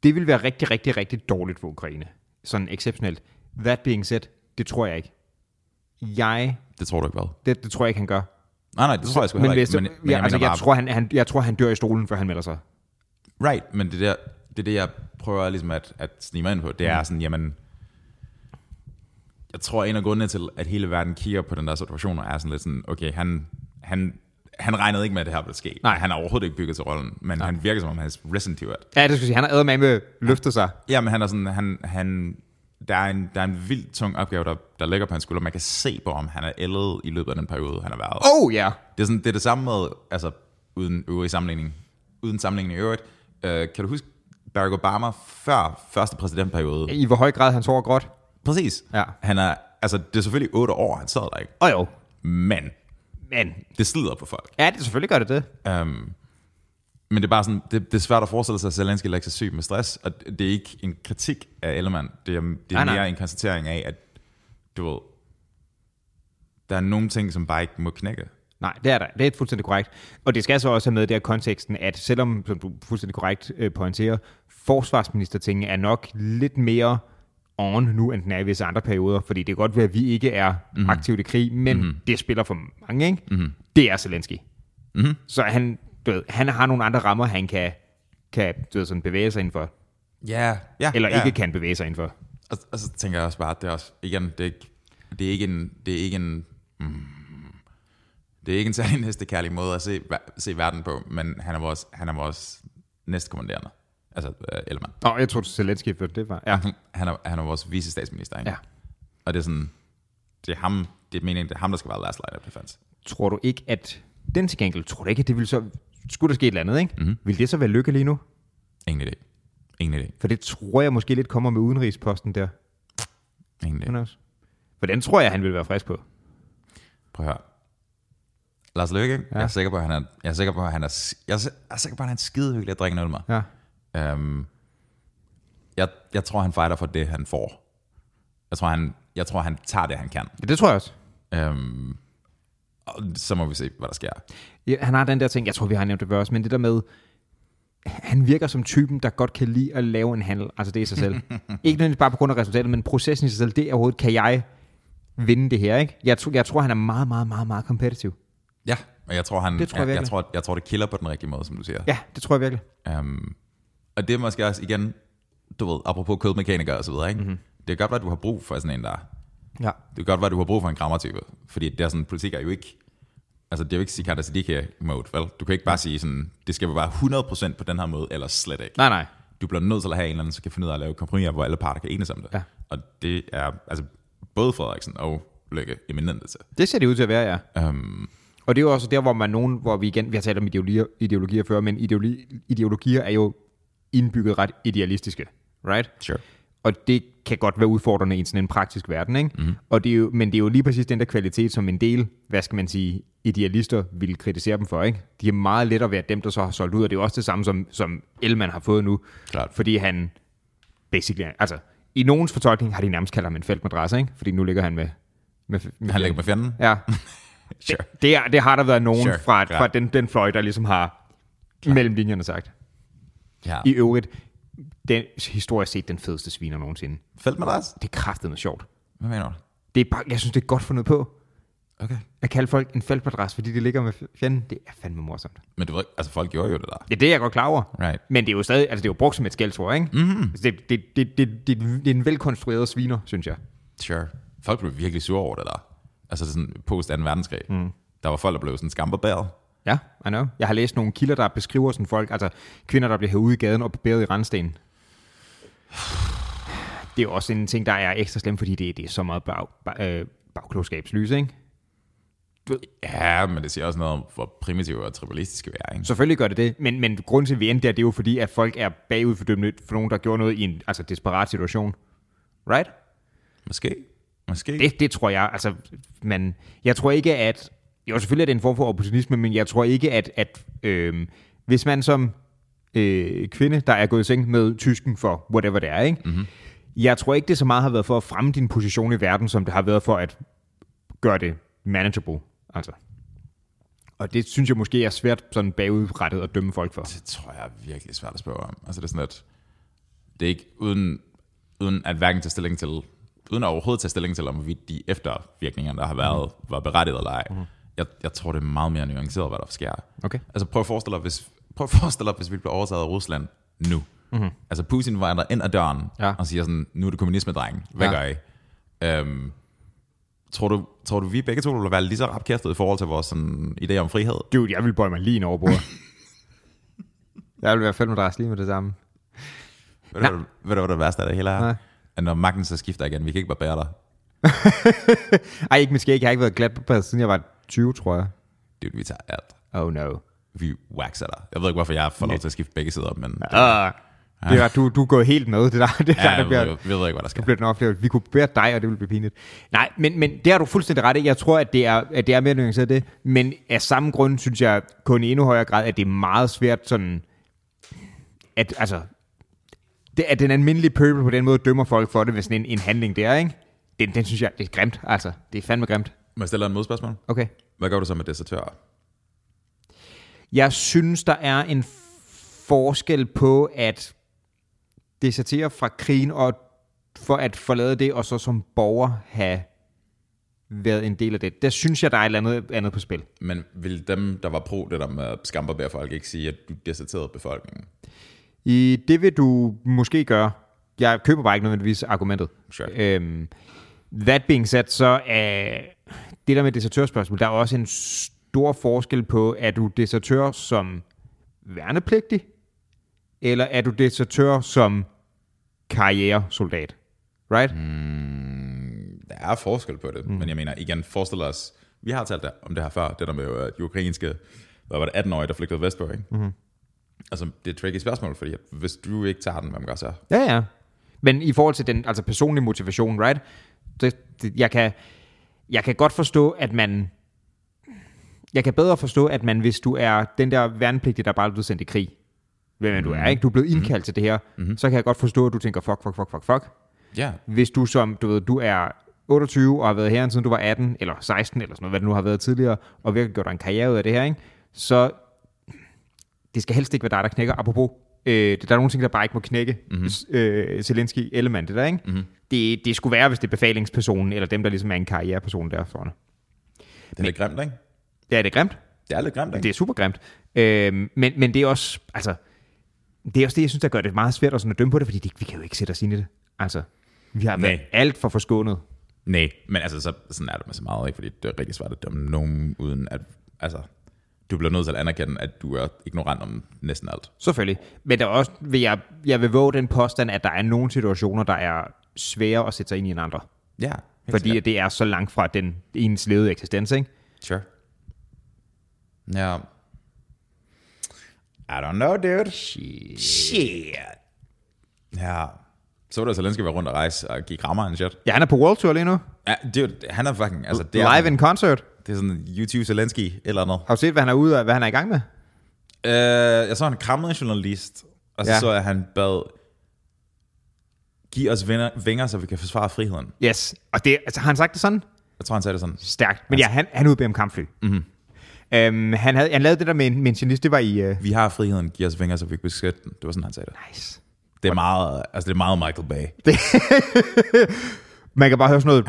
B: Det vil være rigtig, rigtig, rigtig dårligt for Ukraine. Sådan exceptionelt. That being said, det tror jeg ikke. Jeg,
A: Det tror du ikke, hvad?
B: det, det tror jeg ikke, han gør.
A: Nej, nej, det tror jeg sgu heller
B: Men, hvis,
A: ikke.
B: men, men ja, jeg, altså,
A: mener
B: jeg,
A: bare-
B: tror, han, han, jeg tror, han dør i stolen, før han melder sig.
A: Right, men det, der, det er det, jeg prøver ligesom at, at snige mig ind på. Det er sådan, jamen... Jeg tror, en af grundene til, at hele verden kigger på den der situation, og er sådan lidt sådan, okay, han, han, han regnede ikke med, at det her ville ske.
B: Nej.
A: Han er overhovedet ikke bygget til rollen, men Nej. han virker som om, han er risen to it.
B: Ja, det skal jeg sige. Han har æder med med løftet sig.
A: Jamen, han er sådan, han, han, der, er en, der er en vildt tung opgave, der, der ligger på hans skulder. Man kan se på, om han er ældet i løbet af den periode, han har været.
B: Oh ja. Yeah.
A: Det er, sådan, det er det samme med, altså uden øvrig sammenligning, uden sammenligning i øvrigt. Øh, kan du huske Barack Obama før første præsidentperiode?
B: I hvor høj grad han sover gråt.
A: Præcis.
B: Ja.
A: Han er, altså, det er selvfølgelig otte år, han sad der ikke.
B: Og jo.
A: Men
B: Men
A: det slider på folk.
B: ja, det selvfølgelig gør det det.
A: Um, men det er bare sådan, det, det er svært at forestille sig, at Zelensky lægger sig syg med stress, og det det er ikke en kritik af Ellemann. Det er, det
B: Nej,
A: er
B: nej.
A: mere en konstatering af, at du ved, der er nogle ting, som bare ikke må knække.
B: Nej, det er der. Det er fuldstændig korrekt. Og det skal så også have med i det her konteksten, at selvom, som du fuldstændig korrekt øh, pointerer, forsvarsministertingen er nok lidt mere on nu, end den er i visse andre perioder, fordi det kan godt være, at vi ikke er mm-hmm. aktivt i krig, men mm-hmm. det spiller for mange, ikke? Mm-hmm. Det er Zelensky. Mm-hmm. Så han, du ved, han har nogle andre rammer, han kan, kan du ved, sådan bevæge sig indenfor,
A: Ja, ja,
B: eller
A: ja.
B: ikke kan bevæge sig indenfor.
A: Og, og så tænker jeg også bare, at det er også, igen, det er ikke, det er ikke en, det er ikke en, mm, det er ikke en særlig næstekærlig måde at se, ver- se verden på, men han er vores, han er vores næstkommanderende, altså uh, Ellemann.
B: Nå, jeg tror, Zelensky for det var... Ja.
A: Han er, han er vores vicestatsminister, ikke?
B: Ja.
A: Og det er sådan, det er ham, det er meningen, det er ham, der skal være last line of defense.
B: Tror du ikke, at den til gengæld, tror du ikke, at det ville så... Skulle der ske et eller andet, ikke? Mm-hmm. Vil det så være lykke lige nu?
A: Ingen idé. Ingen idé.
B: For det tror jeg måske lidt kommer med udenrigsposten der.
A: Ingen idé.
B: Who knows? For den tror jeg, han vil være frisk på.
A: Prøv at høre. Lars Løkke, ja. jeg er sikker på, at han er, jeg er sikker på, at han er, s- jeg er, si- jeg er sikker på, at han er skide hyggelig at drikke en øl med.
B: Ja.
A: Øhm, jeg, jeg tror, han fighter for det, han får. Jeg tror, han, jeg tror, han tager det, han kan.
B: ja det tror jeg også.
A: Øhm, og så må vi se, hvad der sker.
B: Ja, han har den der ting, jeg tror, vi har nævnt det før også, men det der med, han virker som typen, der godt kan lide at lave en handel. Altså det i sig selv. ikke nødvendigvis bare på grund af resultatet, men processen i sig selv, det er overhovedet, kan jeg vinde det her, ikke? Jeg, tr- jeg tror, han er meget, meget, meget, meget kompetitiv.
A: Ja, og jeg tror, han,
B: Det tror jeg
A: jeg, jeg,
B: virkelig.
A: tror, jeg tror, det kilder på den rigtige måde, som du siger.
B: Ja, det tror jeg virkelig.
A: Øhm, og det er måske også igen, du ved, apropos kødmekanikere og så videre, ikke?
B: Mhm.
A: Mm-hmm. Det kan godt være, at du har brug for sådan en, der
B: Ja.
A: Det kan godt være, at du har brug for en grammertype, fordi det er sådan, politik er jo ikke, altså det er jo ikke Sikata Siddiqui-mode, vel? Du kan ikke bare sige sådan, det skal være 100% på den her måde, eller slet ikke.
B: Nej, nej.
A: du bliver nødt til at have en eller anden, som kan finde ud af at lave kompromiser, hvor alle parter kan enes om det.
B: Ja.
A: Og det er altså både Frederiksen og Løkke eminente til.
B: Det ser det ud til at være, ja.
A: Um,
B: Og det er jo også der, hvor man nogen, hvor vi igen, vi har talt om ideologier, ideologier før, men ideologi, ideologier er jo indbygget ret idealistiske, right?
A: sure.
B: Og det kan godt være udfordrende i sådan en praktisk verden, ikke?
A: Mhm.
B: Mm-hmm. Og det er jo, men det er jo lige præcis den der kvalitet, som en del, hvad skal man sige, idealister vil kritisere dem for, ikke? De er meget let at være dem, der så har solgt ud, og det er jo også det samme, som, som Elman har fået nu.
A: Klart.
B: Fordi han basically, altså, i nogens fortolkning har de nærmest kaldt ham en feltmadrasse, ikke? Fordi nu ligger han med... med, med
A: Han ligger med fjenden.
B: Ja,
A: Sure.
B: det, er, det har der været nogen sure,
A: Sure,
B: fra,
A: klar.
B: fra den, den fløj, der ligesom har mellem linjerne sagt.
A: Ja.
B: I øvrigt, den historisk set den fedeste sviner nogensinde.
A: Felt med deres?
B: Det er kraftedeme sjovt.
A: Hvad mener du?
B: Det er bare, jeg synes, det er godt fundet på
A: Okay.
B: at kalde folk en faldpadras, fordi det ligger med fjenden. Det er fandme morsomt.
A: Men du ved, ikke, altså folk gjorde jo det der.
B: Ja, det er jeg godt klar over.
A: Right.
B: Men det er jo stadig, altså det er jo brugt som et skældsord, ikke? Mm-hmm. Altså, det, det, det, det, det, det, er en velkonstrueret sviner, synes jeg.
A: Sure. Folk blev virkelig sure over det der. Altså sådan post 2. verdenskrig. Mm. Der var folk, der blev sådan skambarberet.
B: Ja, I know. Jeg har læst nogle kilder, der beskriver sådan folk, altså kvinder, der bliver herude i gaden og barberet i randsten. Det er jo også en ting, der er ekstra slem, fordi det, det er så meget bag, bag, øh, bagklogskabslys, ikke?
A: Ja, men det siger også noget om, hvor primitive og tribalistiske vi er, ikke?
B: Selvfølgelig gør det det, men, men grunden til, at vi endte der, det er jo fordi, at folk er bagud for dømme for nogen, der gjorde noget i en altså, desperat situation. Right?
A: Måske. Måske.
B: Det, det tror jeg, altså, man, jeg tror ikke, at, jo selvfølgelig er det en form for opportunisme, men jeg tror ikke, at, at øh, hvis man som øh, kvinde, der er gået i seng med tysken for whatever det er, ikke? Mm-hmm. jeg tror ikke, det så meget har været for at fremme din position i verden, som det har været for at gøre det manageable, altså. Og det synes jeg måske er svært sådan bagudrettet at dømme folk for.
A: Det tror jeg er virkelig svært at spørge om. Altså det er sådan, at Det er ikke uden, uden at hverken tage stilling til, uden at overhovedet tage stilling til, om hvorvidt de eftervirkninger, der har været,
B: Mhm.
A: var berettiget eller ej. Jeg, jeg tror, det er meget mere nuanceret, hvad der sker.
B: Okay.
A: Altså prøv at forestille dig, hvis, prøv at forestille dig, hvis vi bliver overtaget af Rusland nu. Mm-hmm. Altså Putin vandrer ind ad døren
B: Mhm. Ja.
A: ja. og siger sådan, nu er det kommunisme, dreng. Hvad
B: Ja.
A: ja. gør I? Øhm, tror, du, tror du, vi begge to vil være lige så rapkæftet i forhold til vores sådan, idé om frihed?
B: Dude, jeg vil bøje mig lige ind over bordet. jeg vil være fældt med dig lige med det samme.
A: Ved du, hvad der- ved du, hvad det værste af det hele er?
B: Nej.
A: At når magten så skifter igen, vi kan ikke bare bære dig.
B: Ej, ikke måske ikke. Jeg har ikke været glat på siden jeg var 20, tror jeg.
A: Dude, vi tager alt.
B: Oh no.
A: Vi waxer dig. Jeg ved ikke, hvorfor jeg får lov til at skifte begge sider op, men...
B: Uh, det var, du, du er gået helt med. Det der, det der,
A: Ja,
B: der
A: jeg,
B: bliver,
A: ved, jeg ved ikke, hvad der sker.
B: bliver den oplevelse. Vi kunne bære dig, og det ville blive pinligt. Nej, men, men det har du fuldstændig ret i. Jeg tror, at det er, at det er mere nuanceret det. Men af samme grund synes jeg kun i endnu højere grad, at det er meget svært sådan... At, altså, det, at den almindelige pøbel på den måde dømmer folk for det ved sådan en, en handling der, ikke? Den, den synes jeg, det er grimt, altså. Det er fandme grimt.
A: Man stiller en modspørgsmål.
B: Okay.
A: Hvad gør du så med desertører?
B: Jeg synes, der er en forskel på at desertere fra krigen og for at forlade det, og så som borger have været en del af det. Der synes jeg, der er et eller andet, andet på spil.
A: Men vil dem, der var pro det der med skamper folk, ikke sige, at du deserterede befolkningen?
B: I det vil du måske gøre. Jeg køber bare ikke nødvendigvis argumentet.
A: Sure.
B: Øhm, that being said, så er det der med desertørspørgsmål, der er også en stor forskel på, er du desertør som værnepligtig, eller er du desertør som karrieresoldat? Right? Mm.
A: Mm, Der er forskel på det, mm. men jeg mener, igen, forestil dig os, vi har talt der, om det her før, det der med øh, de ukrainske, hvad var det, 18-årige, der flygtede vestpå, ikke? Mm-hmm. Altså, det er et tricky spørgsmål, fordi at hvis du ikke tager den, hvem gør så?
B: Ja, ja. Men i forhold til den altså personlige motivation, right? Det, det, jeg, kan, jeg kan godt forstå, at man... Jeg kan bedre forstå, at man, hvis du er den der værnepligtige, der bare er blevet sendt i krig, hvem end du er, ikke? Du er blevet indkaldt mm-hmm. til det her, mm-hmm. så kan jeg godt forstå, at du tænker, fuck, fuck, fuck, fuck, fuck.
A: Ja,
B: Hvis du som, du ved, du er 28 og har været herren, siden du var 18, eller 16, eller sådan noget, hvad det nu har været tidligere, og virkelig gjort dig en karriere ud af det her, ikke? så det skal helst ikke være dig, der knækker. Apropos, øh, der er nogle ting, der bare ikke må knække. Mm-hmm. Øh, Zelensky, Ellemann, det der, ikke? Mm-hmm. Det, det skulle være, hvis det er befalingspersonen, eller dem, der ligesom er en karriereperson der foran.
A: det er lidt grimt, ikke?
B: Ja, er det grimt.
A: Det er lidt grimt, ikke?
B: Det er super grimt. Øh, men, men det er også, altså, det er også det, jeg synes, der gør det meget svært at, sådan at dømme på det, fordi det, vi kan jo ikke sætte os ind i det. Altså, vi har været
A: Nej.
B: alt for forskånet.
A: Nej, men altså, så, sådan er det med så meget, ikke? Fordi det er rigtig svært at dømme nogen, uden at, altså, du bliver nødt til at anerkende, at du er ignorant om næsten alt.
B: Selvfølgelig. Men der er også, vil jeg, jeg vil våge den påstand, at der er nogle situationer, der er svære at sætte sig ind i end andre.
A: Ja, helt
B: Fordi
A: sikkert.
B: at det er så langt fra den ens levede eksistens, ikke?
A: Sure. Ja. I don't know, dude. Shit. Shit. Ja. Så var det, at Zelensky var rundt og rejse og gik rammer en shit.
B: Ja, han er på World Tour lige nu.
A: Ja, dude, han er fucking... Altså, det
B: Det
A: er,
B: er Live
A: sådan,
B: in concert.
A: det er sådan YouTube Zelensky et eller andet.
B: Har du set, hvad han er ude af, hvad han er i gang med?
A: Øh, jeg så, han krammede en journalist, og så
B: Ja.
A: ja. så, jeg, at han bad... Giv os vinger, vinger, så vi kan forsvare friheden.
B: Yes. Og det, altså, har han sagt det sådan?
A: Jeg tror, han sagde det sådan.
B: Stærkt. Men ja, han, han udbød om kampfly. Mm-hmm.
A: Mhm.
B: Øhm, han, havde, han lavede det der med en, med en journalist, det var i... Uh...
A: Vi har friheden, giv os vinger, så vi kan beskytte den. Det var sådan, han sagde det.
B: Nice.
A: Det er meget, altså, det er meget Michael Bay.
B: Man kan bare høre sådan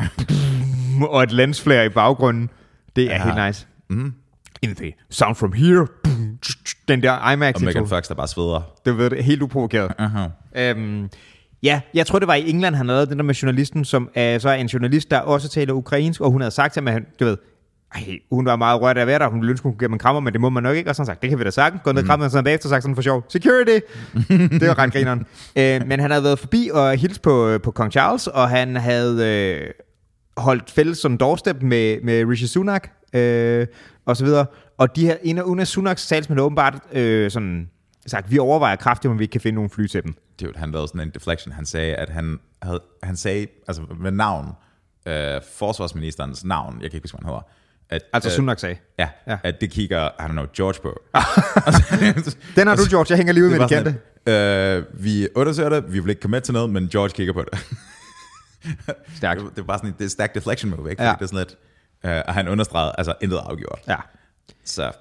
B: noget... og et lensflare i baggrunden. Det er ja.
A: Ja.
B: helt nice. Mm-hmm. In the sound from here. Den der imax
A: Og Megan Fox, der bare sveder.
B: Det ved det helt uprovokeret. Uh-huh. Øhm, ja, jeg tror, det var i England, han lavede den der med journalisten, som øh, så er en journalist, der også taler ukrainsk, og hun havde sagt til ham, at han, du ved, ej, hun var meget rørt af at være der, hun ville ønske, hun kunne give ham en krammer, men det må man nok ikke. Og så har han sagt, det kan vi da sagtens. Gå ned og kramme, og sådan bagefter sagt sådan for sjov, security! det var ret grineren. øh, men han havde været forbi og hilst på, på Kong Charles, og han havde øh, holdt fælles som doorstep med, med Rishi Sunak, øh, og så videre. Og de her, en af, en af Sunaks salgsmænd har åbenbart øh, sådan sagt, vi overvejer kraftigt, om vi ikke kan finde nogle fly til dem.
A: Dude, han lavede sådan en deflection. Han sagde, at han, havde, han sagde, altså med navn, øh, forsvarsministerens navn, jeg kan ikke huske, hvad han hedder, at,
B: Altså
A: øh,
B: Sunak sagde.
A: ja,
B: Ja.
A: ja, at det kigger, I don't know, George på.
B: Den har du, George. Jeg hænger lige ud med
A: var
B: det kendte.
A: sådan, at, øh, vi undersøger det, vi vil ikke komme til noget, men George kigger på det.
B: Stærkt.
A: det var bare sådan et det er stærkt deflection move, ikke?
B: Ja.
A: Ja. Det er sådan lidt, øh, og han understregede, altså intet afgjort.
B: Ja.
A: Så,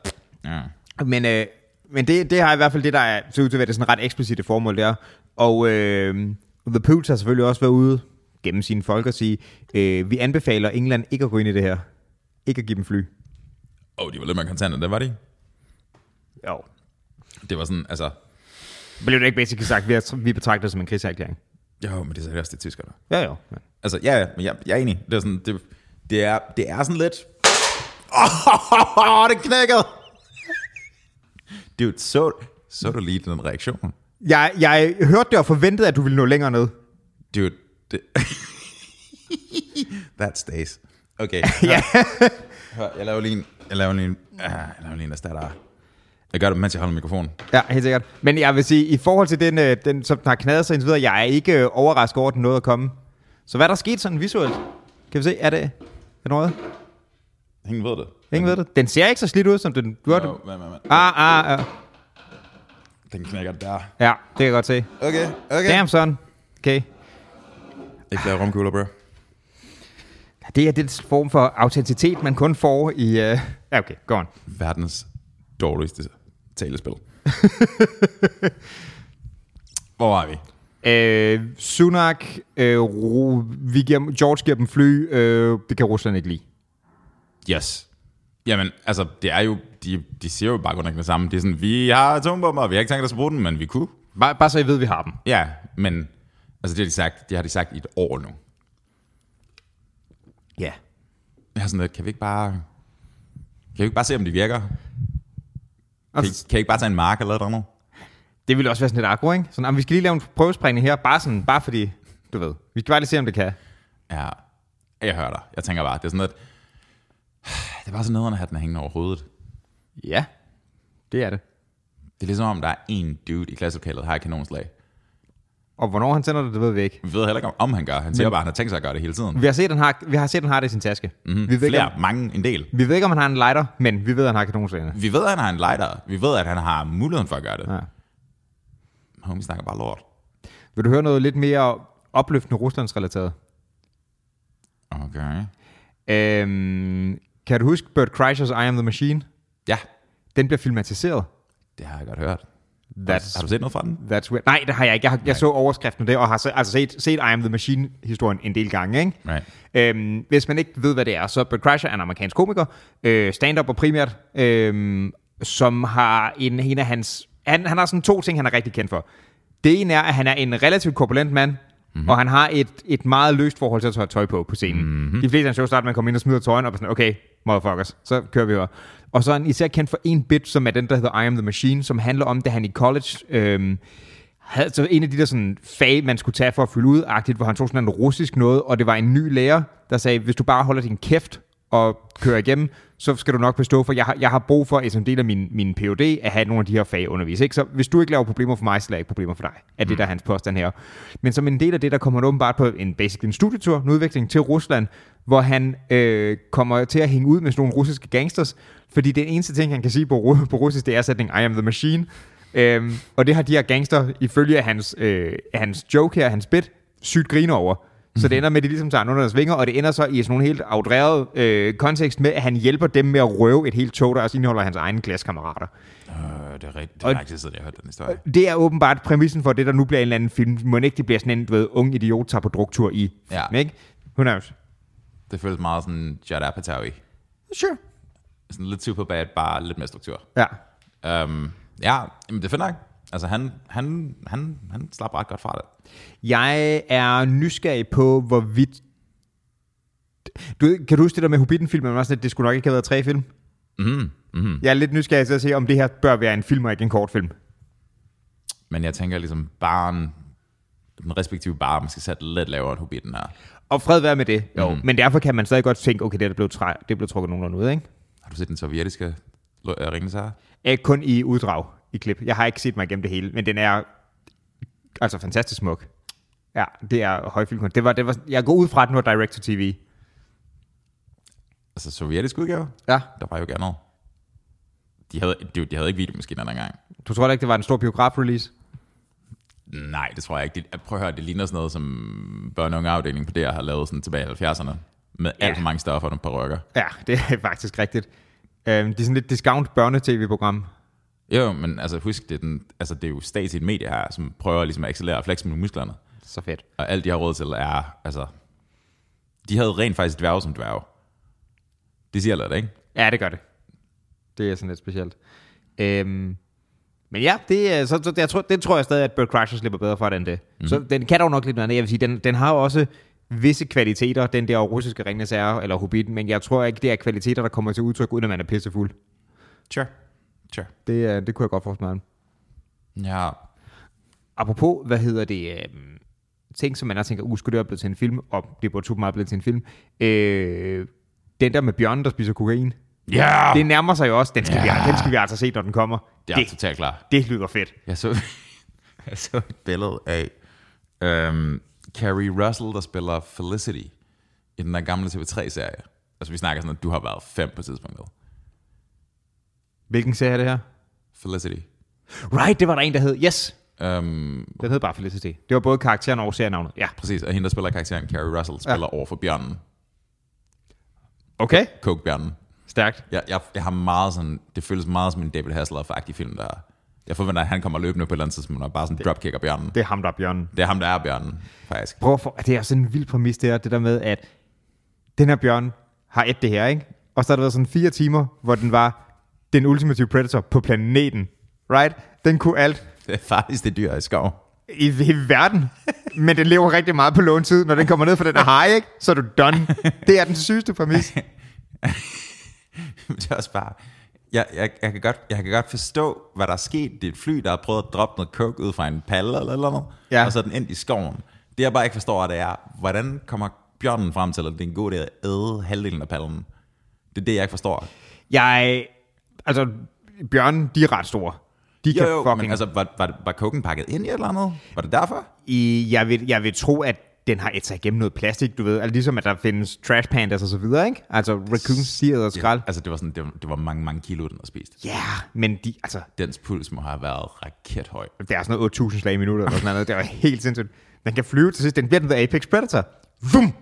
A: ja.
B: Men, øh, men det, det har i hvert fald det, der er, ser ud til at være det sådan ret eksplicite formål der. Og øh, The Pooch har selvfølgelig også været ude gennem sine folk og sige, øh, vi anbefaler England ikke at gå ind i det her. Ikke at give dem fly.
A: Åh, oh, de var lidt mere kontante, der var de.
B: Jo.
A: Det var sådan, altså...
B: Blev det ikke basically sagt, vi, er, vi betragter det som en krigserklæring?
A: Jo, men det er så også de tyskere.
B: Ja, jo. Men.
A: Altså, ja, ja, men jeg, jeg er enig. Det er sådan, det, det, er, det er sådan lidt... Åh, oh, det knækkede! Dude, så, så du lige den reaktion?
B: Jeg, jeg hørte det og forventede, at du ville nå længere ned.
A: Dude, det... That stays. Okay,
B: Ja.
A: hør, jeg laver lige en... Jeg laver lige en... ah, Jeg laver lige en erstatter. Jeg gør det, mens jeg holder mikrofonen.
B: Ja, helt sikkert. Men jeg vil sige, i forhold til den, øh, den som den har knadet sig indtil videre, jeg er ikke øh, overrasket over, at den nåede at komme. Så hvad er der sket sådan visuelt? Kan vi se, er det, er det noget?
A: Ingen ved det.
B: Ingen ved det. Den ser ikke så slidt ud, som den gjorde.
A: Jo, hvad, hvad, hvad?
B: Ah, ah, ah.
A: Den knækker der.
B: Ja, det kan jeg godt se.
A: Okay, okay.
B: Damn, son. Okay.
A: Ikke flere romkugler, bro.
B: Det er den form for autenticitet, man kun får i... øh, Ja, okay, go on.
A: verdens dårligste talespil. Hvor var vi?
B: Øh, Sunak, øh, ro, vi giver, dem- George giver dem fly, øh, det kan Rusland ikke lide.
A: Yes. Jamen, altså, det er jo, de, de siger jo bare grundlæggende det samme. Det er sådan, vi har atombomber, vi har ikke tænkt os at bruge dem, men vi kunne.
B: Bare, bare så I ved, vi har dem.
A: Ja, men, altså det har de sagt, det har de sagt i et år nu.
B: Ja. Yeah.
A: Jeg har sådan lidt, kan vi ikke bare, kan vi ikke bare se, om de virker? Kan,
B: Og
A: I,
B: Altså-
A: kan I ikke bare tage en mark eller noget? andet?
B: Det ville også være sådan lidt akro, ikke? Sådan, "Ah, vi skal lige lave en prøvesprængning her, bare, sådan, bare fordi, du ved. Vi skal bare lige se, om det kan.
A: Ja, jeg hører dig. Jeg tænker bare, det er sådan lidt, det er bare sådan nederen at have den hængende over hovedet.
B: Ja, det er det.
A: Det er ligesom om, der er en dude i klasselokalet, der har et kanonslag.
B: Og hvornår han sender det, det ved vi ikke.
A: Vi ved heller ikke, om- om han gør. Han siger bare, at han har tænkt sig at gøre det hele tiden.
B: Vi har set, han har, vi har, set, han har det i sin taske. Mm-hmm. Vi, ved ikke, om,
A: Flere, mange, en del.
B: vi ved ikke, om han har en lighter, men vi ved, at han har kanonslagene.
A: Vi ved, at han har en lighter. Vi ved, at han har muligheden for at gøre det.
B: Ja.
A: Homie snakker bare lort.
B: Vil du høre noget lidt mere opløftende Ruslandsrelateret?
A: Okay.
B: Øhm, kan du huske Bert Kreischer's I Am The Machine?
A: Ja,
B: Den bliver filmatiseret.
A: det har jeg godt hørt.
B: That's,
A: Har du set noget fra den?
B: that's weird. Nej, det har jeg ikke. Jeg, har, jeg så overskriften der, og har se, altså set, set I Am The Machine-historien en del gange. Ikke?
A: Right.
B: Øhm, hvis man ikke ved, hvad det er, så Bert Kreischer er en amerikansk komiker, øh, stand-up og primært, øh, som har en, en af hans... Han, han har sådan to ting, han er rigtig kendt for. Det ene er, at han er en relativt korpulent mand, mm-hmm. og han har et, et meget løst forhold til at tage tøj på på scenen. Mm-hmm. De fleste af hans shows starter med at komme ind og smide tøjen op og sådan, okay, motherfuckers, så kører vi over. Og så er han især kendt for en bit, som er den, der hedder I Am The Machine, som handler om, da han i college... Øh, havde så en af de der sådan fag, man skulle tage for at fylde ud, agtigt, hvor han tog sådan en russisk noget, og det var en ny lærer, der sagde, hvis du bare holder din kæft og kører igennem, så skal du nok bestå, for jeg har, jeg har brug for, som en del af min, min PhD, at have nogle af de her fag undervist. Ikke? Så hvis du ikke laver problemer for mig, så laver jeg ikke problemer for dig, er det der er hans påstand her. Men som en del af det, der kommer han åbenbart på en, basically en studietur, en udvikling til Rusland, hvor han øh, kommer til at hænge ud med sådan nogle russiske gangsters, fordi den eneste ting, han kan sige på, ru- på russisk, det er sætningen, I am the machine. Øhm, og det har de her gangster, ifølge af hans, øh, hans joke her, hans bit, sygt griner over. Så det ender med, at de ligesom tager nogle af deres vinger, og det ender så i sådan nogle helt afdrevet øh, kontekst med, at han hjælper dem med at røve et helt tog, der også indeholder hans egne klassekammerater.
A: Øh, det er rigtigt. Det er
B: Og-
A: lang tid siden, jeg har hørt den historie.
B: Det er åbenbart præmissen for det, der nu bliver en eller anden film. Må ikke det bliver sådan en, du ved, ung idiot tager på druktur i
A: Ja.
B: film, ikke? Who knows?
A: Det føles meget sådan Judd Apatow i.
B: Sure.
A: Sådan lidt super bad, bare lidt mere struktur.
B: Ja.
A: Um, ja, jamen, det er fedt nok. Altså, han, han, han, han slap ret godt fra det.
B: Jeg er nysgerrig på, hvorvidt... Du, ved- kan du huske det der med Hobbiten-filmen? hvor man var sådan, at Det skulle nok ikke have været tre film.
A: Mm, mm.
B: Jeg er lidt nysgerrig til at se, om det her bør være en film og ikke en kortfilm.
A: Men jeg tænker ligesom, barn, den respektive bar, man skal sætte lidt lavere end Hobbiten her.
B: Og fred være med det. Jo. Mm. Men derfor kan man stadig godt tænke, okay, det der blev, træ, det blev trukket nogenlunde ud, ikke?
A: Har du set den sovjetiske øh, Ringnes her?
B: Æ, kun i uddrag, i klip. Jeg har ikke set mig igennem det hele, men den er altså fantastisk smuk. Ja, det er højfilmkunst. Det var, det var, jeg går ud fra, at den var direct-to-tv.
A: Altså sovjetisk udgave?
B: Ja.
A: Der var jo ikke andet. De havde, de, de havde ikke videomaskiner dengang.
B: Du tror heller ikke, det var en stor biograf-release?
A: Nej, det tror jeg ikke. Det, prøv at høre, det ligner sådan noget, som børne- og afdelingen på DR har lavet sådan tilbage i 70'erne. Med
B: Ja.
A: ja. alt for mange stoffer og nogle perukker.
B: Ja, det er faktisk rigtigt. Øhm, det er sådan lidt discount børnetv-program.
A: Jo, men altså husk, det er, den, altså, det er jo statsligt medie her, som prøver ligesom at accelerere og flexe med musklerne.
B: Så fedt.
A: Og alt de har råd til er, altså... De havde rent faktisk dværge som dværge. Det siger lidt, ikke?
B: Ja, det gør det. Det er sådan lidt specielt. Øhm, men ja, det, er- så, så, jeg tror, det tror jeg stadig, at Bird Crusher slipper bedre fra det end det.
A: Mhm.
B: Mm. Så den kan dog nok lidt noget andet. Jeg vil sige, den, den har jo også visse kvaliteter, den der russiske Ringnes Herre eller Hobbit, men jeg tror ikke, det er kvaliteter, der kommer til udtryk, uden at man er pissefuld.
A: Sure. Sure.
B: Det, er- det kunne jeg godt forestille mig. om.
A: Ja.
B: Apropos, hvad hedder det, øh, ting, som man har tænkt, uh, skulle det være blevet til en film, og det burde super meget blive til en film. Øh, den der med bjørnen, der spiser kokain.
A: Ja!
B: Det nærmer sig jo også. Den skal, ja.
A: Ah. Ja.
B: vi, den skal vi altså se, når den kommer.
A: Det er altså jeg
B: det,
A: totalt klar.
B: det lyder fedt.
A: Jeg så, jeg så et billede af øhm, Carrie Russell, der spiller Felicity i den der gamle TV3-serie. Altså vi snakker sådan, at du har været fem på tidspunktet.
B: Hvilken serie er det her?
A: Felicity.
B: Right, det var der en, der hed. Yes.
A: Øhm,
B: Den hed bare Felicity. Det var både karakteren og serienavnet. Ja.
A: præcis, og hende, der spiller karakteren Carrie Russell, spiller ja. over for bjørnen.
B: Okay.
A: Coke-bjørnen.
B: Stærkt.
A: Jeg, jeg, jeg har meget sådan, det føles meget som en David Hasselhoff-agtig film, der jeg forventer, at han kommer løbende på et eller andet tidspunkt, og bare sådan dropkicker bjørnen.
B: Det er ham, der er bjørnen.
A: Det er ham, der er bjørnen, faktisk.
B: Prøv at for, det er sådan en vild præmis, det her, det der med, at den her bjørn har et det her, ikke? Og så har der været sådan fire timer, hvor den var den ultimative predator på planeten. Right? Den kunne alt
A: Det er faktisk det dyr i skov.
B: i hele verden, men den lever rigtig meget på låntid. Når den kommer ned fra den her hej, ikke? Så er du done. Det er den sygeste præmis.
A: Men det er også bare... Jeg, jeg, jeg, kan godt, jeg kan godt forstå, hvad der er sket. Det er et fly, der har prøvet at droppe noget coke ud fra en palle eller eller noget,
B: Ja.
A: og så er den endt i skoven. Det jeg bare ikke forstår, det er, hvordan kommer bjørnen frem til, at det er en god idé at æde halvdelen af pallen? Det er det, jeg ikke forstår.
B: Jeg, altså, bjørnen, de er ret store. De
A: Jo,
B: kan
A: jo,
B: fucking
A: men altså, var, var, var koken pakket ind i et eller andet? Var det derfor?
B: i, jeg, vil, jeg vil tro, at den har et sig igennem noget plastik, du ved. Altså, ligesom at der findes trash pandas og så videre, ikke? Altså raccoons, de æder skrald.
A: Altså, det var, sådan, det, var, det var mange, mange kilo, den har spist.
B: Ja, yeah, men de, altså,
A: Dens puls må have været rakethøj.
B: det er sådan noget 8.000 slag i minuttet eller sådan noget. Det var helt sindssygt. Den kan flyve til sidst. Den bliver den der Apex Predator. Vum!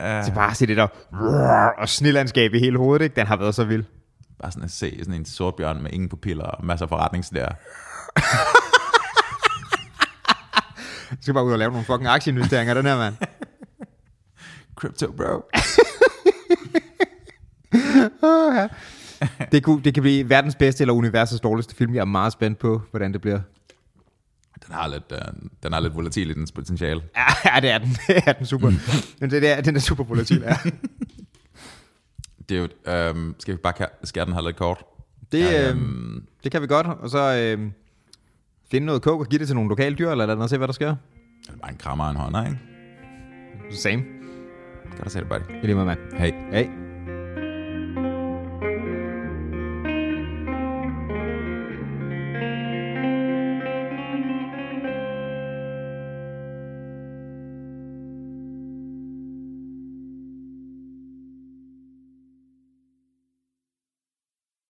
B: Så bare se det der roar, og snilandskab i hele hovedet, ikke? Den har været så vild.
A: Bare sådan at se sådan en sortbjørn med ingen pupiller og masser af forretningslærer.
B: Jeg skal bare ud og lave nogle fucking aktieinvesteringer, den her mand.
A: Crypto, bro.
B: Det, kunne, det kan blive verdens bedste eller universets dårligste film. Jeg er meget spændt på, hvordan det bliver.
A: Den har lidt, øh, den har lidt volatil i dens potentiale.
B: Ja, det er den. Det er den super. Men det der, den er super volatil. Ja.
A: Det er jo, øhm, skal vi bare ka- skære den her lidt kort? Mm,
B: Det,
A: Ja,
B: ja, øhm, det kan vi godt. Og så øhm, finde noget kog og give det til nogle lokale dyr, eller andet, og se, hvad der sker.
A: Det er bare en krammer og en hånder, ikke?
B: Same.
A: Godt at se det, buddy.
B: I lige med, mand.
A: Hey.
B: Hey.